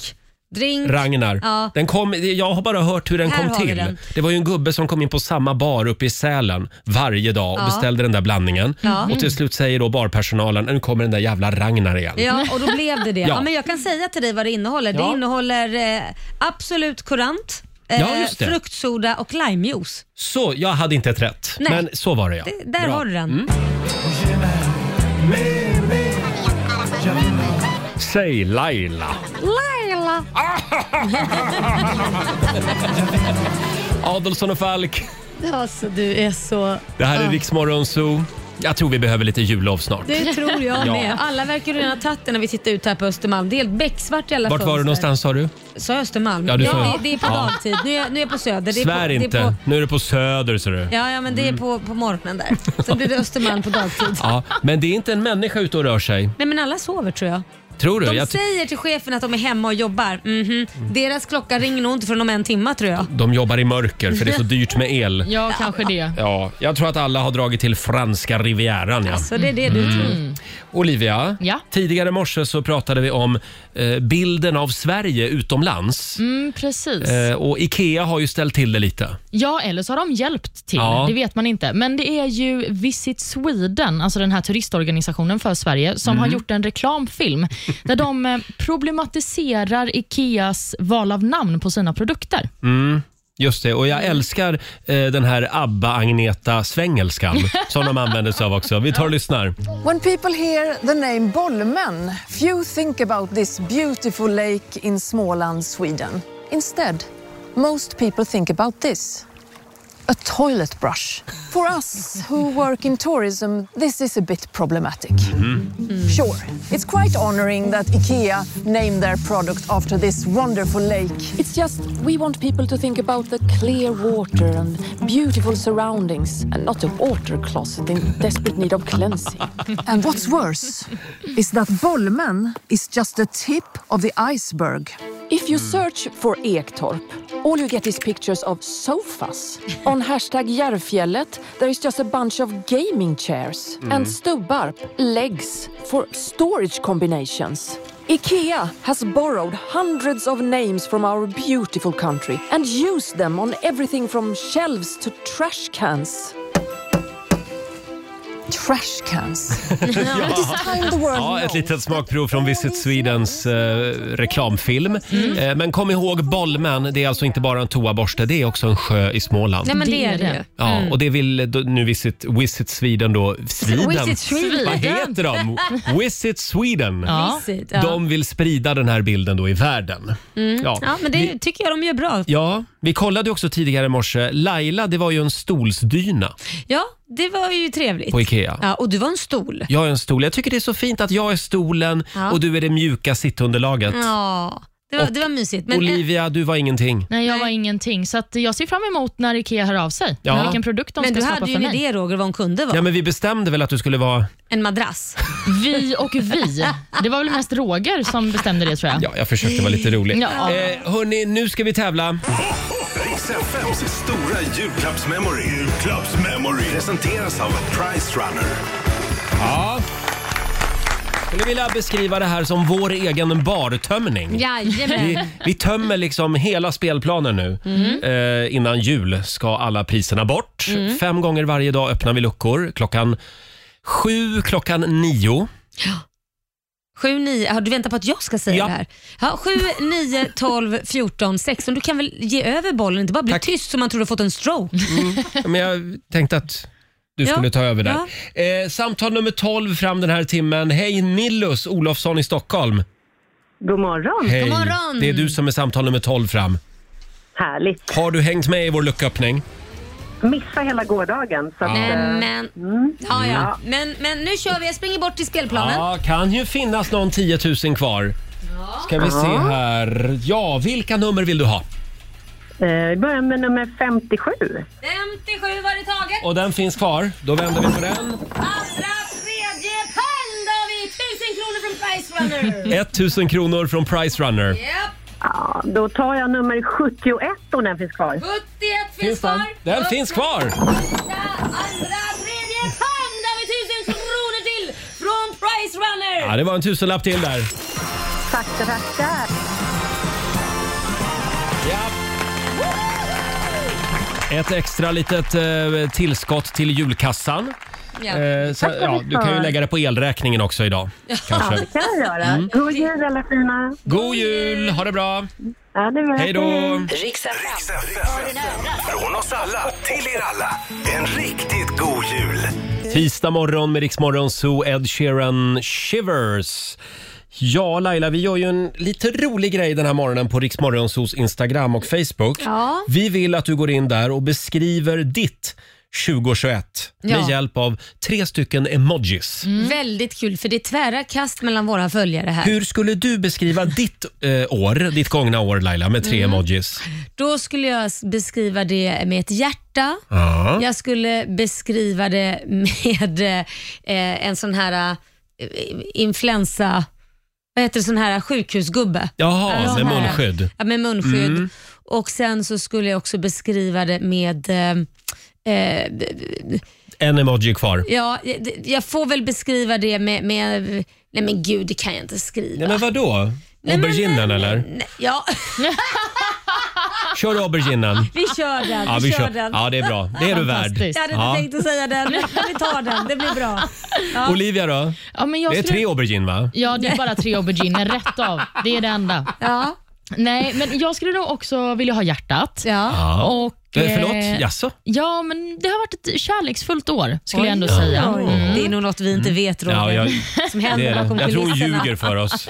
S2: drink.
S1: Ragnar.
S2: Ja.
S1: Den kom, jag har bara hört hur den
S2: Här
S1: kom
S2: har vi
S1: till.
S2: den.
S1: Det var ju en gubbe som kom in på samma bar uppe i Sälen varje dag och
S2: Ja.
S1: beställde den där blandningen.
S2: Ja.
S1: Och till slut säger då barpersonalen, nu kommer den där jävla Ragnar igen.
S2: Ja, och då blev det det.
S1: Mm. Ja.
S2: ja. men jag kan säga till dig vad det innehåller.
S1: Ja.
S2: Det innehåller eh, Absolut Kurant, eh,
S1: Ja, just det.
S2: fruktsoda och limejuice.
S1: Så, jag hade inte ett rätt.
S2: Nej.
S1: Men så var det ja.
S2: Det- där har du den.
S1: Mm. Säg Laila.
S2: Laila!
S1: Adolfsson och Falk.
S15: Alltså du är så...
S1: Det här är
S15: Ja.
S1: Rix Morgon Zoo. Jag tror vi behöver lite jullov snart.
S2: Det tror jag
S1: Ja.
S2: med. Alla verkar redan ha tagit det när vi tittar ut här på Östermalm. Det är helt becksvart i alla
S1: Vart
S2: fönster.
S1: var du någonstans sa du?
S2: Sa jag Östermalm?
S1: Ja,
S2: Ja,
S1: du sa-
S2: det, det är på
S1: Ja.
S2: dagtid. Nu är, jag, nu är jag på Söder. Det är på,
S1: Svär
S2: det är
S1: inte. Mm.
S2: På,
S1: Nu är det på Söder ser du.
S2: ja, ja, men det är på, på morgonen där. Sen blir det Östermalm på dagtid.
S1: Ja, men det är inte en människa ute och rör sig.
S2: Nej, men alla sover tror jag.
S1: Tror du?
S2: De
S1: Jag ty-
S2: säger till chefen att de är hemma och jobbar. Mhm. Deras klocka ringer nog inte förrän om en timme tror jag.
S1: De jobbar i mörker för det är så dyrt med el.
S3: Ja, kanske det.
S1: Ja, jag tror att alla har dragit till franska rivieran. Ja.
S2: Alltså, det är det du
S1: Mm.
S2: tror.
S1: Olivia,
S3: Ja.
S1: tidigare i morse så pratade vi om eh, bilden av Sverige utomlands.
S3: Mm, precis.
S1: Eh, och IKEA har ju ställt till det lite.
S3: Ja, eller så har de hjälpt till.
S1: Ja.
S3: Det vet man inte. Men det är ju Visit Sweden, alltså den här turistorganisationen för Sverige, som
S12: Mm.
S3: har gjort en reklamfilm där de eh, problematiserar Ikeas val av namn på sina produkter.
S1: Mm. Just det, och jag
S2: Mm.
S1: älskar eh, den här ABBA-Agneta-svängelskan som de använder sig av också. Vi tar och lyssnar.
S8: When people hear the name Bolmen, few think about this beautiful lake in Småland, Sweden. Instead, most people think about this. A toilet brush. For us who work in tourism, this is a bit problematic. Sure, it's quite honoring that IKEA named their product after this wonderful lake. It's just we want people to think about the clear water and beautiful surroundings and not a water closet in desperate need of cleansing.
S6: And what's
S8: worse is that Bolmen is just the tip of the iceberg. If you search for Ektorp, all you get is pictures of sofas. On hashtag Järfjället, there is just a bunch of gaming chairs
S12: Mm.
S8: and stubbarp, legs, for storage combinations. IKEA has borrowed hundreds of names from our beautiful country and used them on everything from shelves to trash cans. Trash cans.
S1: Ja.
S8: It is time the world
S1: Ja, ett
S8: knows.
S1: litet smakprov från Visit Swedens eh, reklamfilm.
S2: Mm.
S1: Eh, men kom ihåg Bollman, det är alltså inte bara en toaborste, det är också en sjö i Småland.
S2: Nej, men det är det ju.
S1: Ja,
S2: Mm.
S1: och det vill då, nu Visit, Visit Sweden då... Sweden?
S2: Visit Sweden.
S1: Vad heter de? Visit Sweden.
S2: Ja. Visit, ja.
S1: De vill sprida den här bilden då i världen.
S2: Mm.
S1: Ja.
S2: Ja. men det tycker jag de gör bra.
S1: Ja, vi kollade också tidigare i morse. Laila, det var ju en stolsdyna
S2: Ja, det var ju trevligt.
S1: på Ikea.
S2: Ja, och du var en stol.
S1: Jag är en stol. Jag tycker det är så fint att jag är stolen
S2: Ja.
S1: och du är det mjuka sittunderlaget.
S2: Ja, det var, det var mysigt. Men eh,
S1: Olivia, du var ingenting.
S3: Nej, jag var ingenting. Så att jag ser fram emot när IKEA hör av sig.
S1: Ja.
S3: Vilken produkt de
S2: Men
S3: ska
S2: du
S3: skapa
S2: hade ju
S3: för
S2: en
S3: mig.
S2: idé Roger vad hon kunde vara.
S1: Ja, men vi bestämde väl att du skulle vara...
S2: En madrass.
S3: Vi och vi. Det var väl mest Roger som bestämde det tror jag.
S1: Ja, jag försökte vara lite rolig.
S3: Ja.
S1: Eh, hörni, nu ska vi tävla.
S4: Riks FMs stora julklappsmemory. Julklappsmemory. Presenteras av Price Runner.
S1: Ja. Skulle vilja beskriva det här som vår egen bartömning. Vi,
S2: Jajamän.
S1: vi tömmer liksom hela spelplanen nu.
S2: Mm.
S1: Eh, innan jul ska alla priserna bort.
S2: Mm.
S1: Fem gånger varje dag öppnar vi luckor. Klockan sju, klockan nio.
S2: 7, 9, har du väntat på att jag ska säga det här? Ja, 7, 9, 12, 14, 16. Du kan väl ge över bollen, inte bara bli tyst som man tror du har fått en stroke.
S1: Men jag tänkte att du
S2: Ja.
S1: skulle ta över där. Eh, samtal nummer 12 fram den här timmen. Hej Nillus Olofsson i Stockholm.
S16: God morgon.
S1: Hej. Det är du som är samtal nummer 12 fram.
S16: Härligt.
S1: Har du hängt med i vår lucköppning?
S16: Missade hela gårdagen. Så att,
S1: Ja.
S16: eh,
S1: Mm.
S2: Men, ja, ja. men, men nu kör vi. Jag springer bort till spelplanen.
S1: Ja, kan ju finnas någon 10 000 kvar. Ska vi se
S16: Ja.
S1: här. Ja, vilka nummer vill du ha?
S16: eh, vi börjar med nummer 57.
S2: 57 var det taget.
S1: Och den finns kvar. Då vänder vi på den.
S2: Allra tredje pall då har vi 1000 kronor från Price Runner.
S1: 1000 kronor från Price Runner.
S2: Japp,
S16: Ja, då tar jag nummer 71 om den finns kvar.
S2: 71 finns kvar.
S1: Den finns kvar!
S2: Allra tredje pall då har vi 1000 kronor till från Price Runner.
S1: Ja, det var en tusenlapp till där.
S16: Tackar, tackar.
S1: Ett extra litet eh, tillskott till julkassan. Eh, så, ja, du kan ju lägga det på elräkningen också idag.
S16: Ja,
S1: Kanske.
S16: det kan jag göra. God jul alla fina.
S1: God jul! Ha det bra!
S16: Ja, det är bra.
S1: Hej då.
S4: Från oss alla till er alla. En riktigt god jul.
S1: Tisdag morgon med Riksmorgon Zoo, Ed Sheeran Shivers. Ja, Laila, vi gör ju en lite rolig grej den här morgonen på Riksmorgon Zoos Instagram och Facebook.
S2: Ja.
S1: Vi vill att du går in där och beskriver ditt 2021 med
S2: Ja. Mm.
S1: hjälp av tre stycken emojis.
S2: Väldigt kul för det är tvära kast mellan våra följare här.
S1: Mm. Hur skulle du beskriva ditt eh, år, ditt gångna år Laila, med tre
S2: Mm.
S1: emojis?
S2: Då skulle jag s- beskriva det med ett hjärta.
S1: Ja.
S2: Jag skulle beskriva det med eh, en sån här eh, influensa... Vad heter det? Sån här sjukhusgubbe.
S1: Jaha,
S2: Ja,
S1: med
S2: sån här-
S1: munskydd.
S2: Ja, med munskydd.
S1: Mm.
S2: Och sen så skulle jag också beskriva det med... Eh, eh, b- b-
S1: En emoji kvar.
S2: ja, jag- jag får väl beskriva det med... med nej men gud, det kan jag inte skriva.
S1: Nej men vadå? Auberginen eller?
S2: Ja,
S1: Kör auberginen.
S2: vi kör den.
S1: Ja, vi kör.
S2: den.
S1: Ja, det är bra. Det är du värd.
S2: Jag hade inte
S1: Ja.
S2: tänkt att säga den, men vi tar den. Det blir bra. Ja.
S1: Olivia då?
S3: Ja, men jag
S1: det är
S3: skulle-
S1: tre aubergine va?
S3: Ja, det är bara tre auberginer rätt av. Det är det enda.
S2: Ja.
S3: Nej, men jag skulle nog också vilja ha hjärtat.
S1: Ja.
S3: Och,
S1: Eh, förlåt?
S3: eh,
S1: Jaså?
S3: Ja, men det har varit ett kärleksfullt år skulle jag ändå
S1: Oj,
S3: säga.
S1: oj.
S2: Det är nog något vi inte vet Roger,
S1: Mm. Ja, jag-
S2: som händer
S1: det är det.
S2: bakom
S1: Jag tror hon
S2: kulisserna.
S1: ljuger för oss.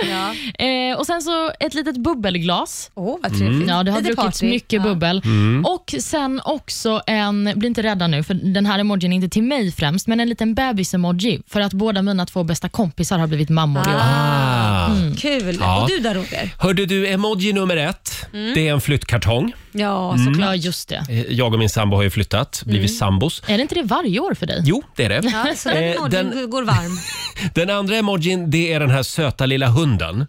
S2: Mm.
S3: Eh, och sen så ett litet bubbelglas.
S2: Åh, oh, vad
S1: trevligt. Mm.
S3: Ja, det har
S2: Lite
S3: druckits
S2: party.
S3: mycket bubbel.
S1: Mm.
S3: Och sen också en, bli inte rädda nu, för den här emojin är inte till mig främst, men en liten bebis-emoji för att båda mina två bästa kompisar har blivit mammor i år.
S1: Ah.
S2: Kul.
S1: Ja.
S2: Och du där Roger?
S1: Hörde du, emoji nummer ett,
S2: Mm.
S1: det är en flyttkartong.
S2: Ja,
S1: Mm.
S3: såklart. Ja, just det.
S1: Eh, Jag och min sambo har ju flyttat, blivit
S3: Mm.
S1: sambos.
S3: Är det inte det varje år för dig?
S1: Jo, det är det.
S2: Ja, så den
S1: Eh,
S2: emojin
S1: den,
S2: går varm.
S1: den andra emojin, det är den här söta lilla hunden.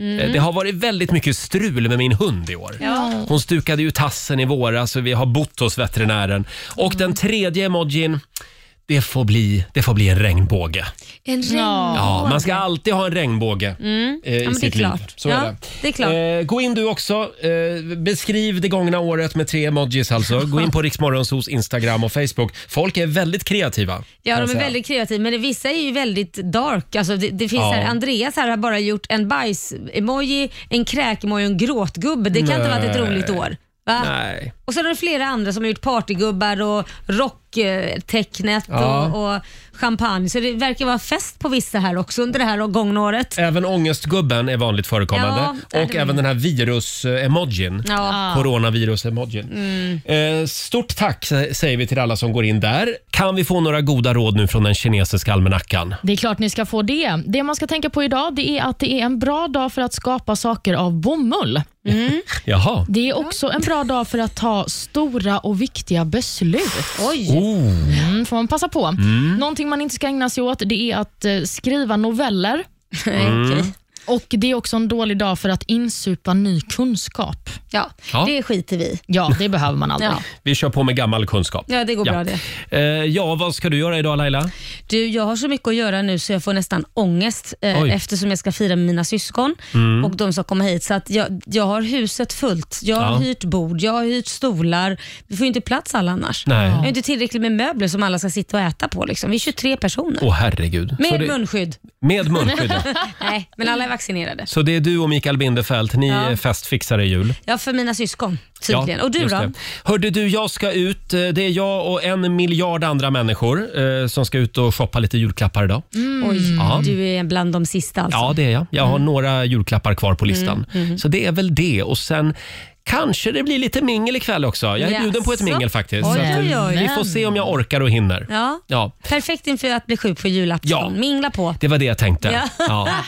S2: Mm.
S1: Eh, Det har varit väldigt mycket strul med min hund i år.
S2: Ja.
S1: Hon
S2: Mm.
S1: stukade ju tassen i våras och vi har bott hos veterinären. Och den tredje emojin, Det får bli, det får bli en regnbåge.
S2: En
S3: Mm.
S2: regnbåge.
S1: Ja, man ska alltid ha en regnbåge
S2: Mm.
S1: eh,
S2: Ja,
S1: i
S2: men det är
S1: sitt liv.
S2: klart.
S1: Så
S2: Ja,
S1: är det.
S2: det är klart.
S1: Eh, gå in du också. Eh, beskriv det gångna året med tre emojis alltså. Gå in på Riksmorgonsos Instagram och Facebook. Folk är väldigt kreativa. kan
S2: Ja,
S1: jag
S2: de är
S1: säga.
S2: väldigt kreativa, men det, vissa är ju väldigt dark. Alltså, det, det finns
S1: Ja.
S2: här, Andreas här har bara gjort en bajs-emoji, en kräk-emoji och en gråtgubbe. Det kan inte ha varit ett
S1: Nej.
S2: roligt år. Va?
S1: Nej.
S2: Och sen har det flera andra som har gjort partygubbar och rocktecknet
S1: Ja.
S2: och, och champagne. Så det verkar vara fest på vissa här också under det här gångna året.
S1: Även ångestgubben är vanligt förekommande.
S2: Ja,
S1: och
S2: det-
S1: även den här virus-emojin.
S2: Ja.
S1: Coronavirus-emojin.
S2: Mm.
S1: Eh, Stort tack sä- säger vi till alla som går in där. Kan vi få några goda råd nu från den kinesiska almanackan?
S3: Det är klart ni ska få det. Det man ska tänka på idag det är att det är en bra dag för att skapa saker av bomull.
S1: Jaha.
S3: Det är också en bra dag för att ta stora och viktiga beslut.
S2: Oj.
S1: Oh.
S3: Mm, får man passa på.
S1: Mm.
S3: Någonting man inte ska ägna sig åt det är att eh, skriva noveller.
S1: Mm. Okej.
S3: Och Det är också en dålig dag för att insupa ny kunskap.
S2: Ja,
S1: Ja.
S2: det skiter vi i.
S3: Ja, det behöver man aldrig.
S2: Ja.
S1: Vi kör på med gammal kunskap.
S2: Ja, det går bra det.
S1: Eh, ja, vad ska du göra idag Laila?
S2: Du, jag har så mycket att göra nu så jag får nästan ångest eh,
S1: Oj.
S2: eftersom jag ska fira med mina syskon
S1: Mm.
S2: och de ska komma hit. Så att jag, jag har huset fullt. Jag har
S1: Ja.
S2: hyrt bord, jag har hyrt stolar. Vi får ju inte plats alla annars.
S1: Nej.
S2: Jag har inte tillräckligt med möbler som alla ska sitta och äta på. Liksom. Vi är 23 personer.
S1: Åh herregud. Så
S2: Med
S1: det-
S2: munskydd.
S1: Med munskydd. ja.
S2: Nej, men alla är vaccinerade.
S1: Så det är du och Mikael Bindefeld, ni
S2: Ja.
S1: är festfixare i jul.
S2: Ja, för mina syskon tydligen.
S1: Ja,
S2: och du
S1: just
S2: då?
S1: det. Hörde du, jag ska ut. eh, Det är jag och en miljard andra människor eh, som ska ut och shoppa lite julklappar idag.
S2: Mm. Oj,
S1: Ja.
S2: du är bland de sista alltså.
S1: Ja, det är jag. Jag har några julklappar kvar på listan.
S2: Mm, mhm.
S1: Så det är väl det. Och sen kanske det blir lite mingel ikväll också. Jag är bjuden på ett
S2: Jaså?
S1: mingel faktiskt.
S2: Oj,
S1: så att, eh,
S2: oj, oj.
S1: Vi får se om jag orkar och hinner.
S2: Ja.
S1: Ja.
S2: Perfekt inför att bli sjuk på julafton.
S1: Ja.
S2: Mingla på.
S1: Det var det jag tänkte.
S2: Ja.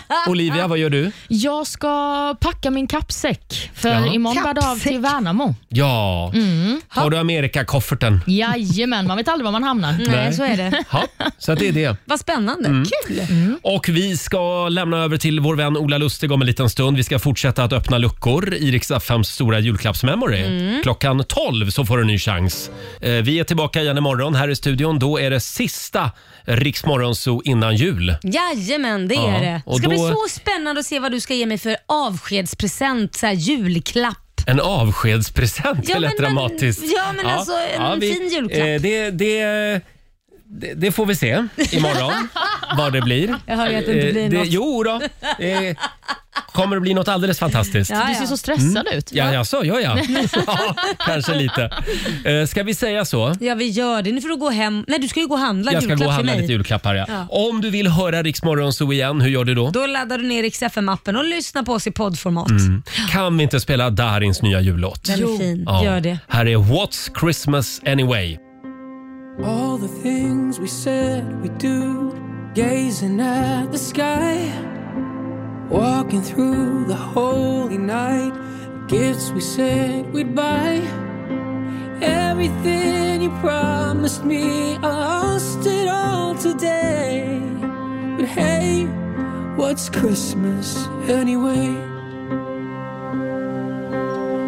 S1: Ja. Olivia, vad gör du?
S3: Jag ska packa min kappsäck, för
S1: Ja.
S3: imorgon bär det av till Värnamo.
S1: Ja,
S3: Mm.
S1: har du Amerikakofferten?
S3: Jajamän, man vet aldrig var man hamnar.
S2: Mm.
S1: Nej, så är
S2: det.
S1: Ja, så att det är det.
S2: Vad spännande.
S1: Mm.
S2: Kul.
S1: Och vi ska lämna över till vår vän Ola Lustig om en liten stund. Vi ska fortsätta att öppna luckor i Rix FMs stora julklappsmemory.
S4: Mm.
S1: Klockan 12 så får du en ny chans. Eh, Vi är tillbaka igen imorgon här i studion. Då är det sista Rix Morgonzoo innan jul.
S2: Jajamän, det
S1: Ja,
S2: är det. Det
S1: och
S2: ska bli
S1: då-
S2: så spännande att se vad du ska ge mig för avskedspresent, så här julklapp.
S1: En avskedspresent,
S2: Ja,
S1: det lät
S2: men- men-
S1: dramatiskt.
S2: ja, men alltså, en fin julklapp.
S1: eh, Det, det, det, det får vi se imorgon vad det blir.
S2: Jag hör ju att det inte
S1: Eh,
S2: blir något.
S1: Jo då. Eh, kommer det bli något alldeles fantastiskt.
S3: Du ser så stressad ut.
S1: Mm. Ja, ja, så gör jag. ja, kanske lite. Eh, ska vi säga så?
S2: Ja, vi gör det. Nu får du gå hem. Nej, du ska ju gå och handla
S1: Jag ska
S2: julklapp
S1: gå och
S2: till
S1: handla
S2: mig.
S1: lite julklappar. Ja.
S2: Ja.
S1: Om du vill höra Rix Morgonzoo igen, hur gör du då?
S2: Då laddar du ner XFM-appen och lyssnar på oss i poddformat.
S1: Mm. Kan vi inte spela Darins nya jullåt?
S2: Den är Jo. fin. Gör det.
S1: Här är What's Christmas Anyway.
S6: All the things we said we do, gazing at the sky, walking through the holy night, gifts we said we'd buy. Everything you promised me, I lost it all today. But hey, what's Christmas anyway?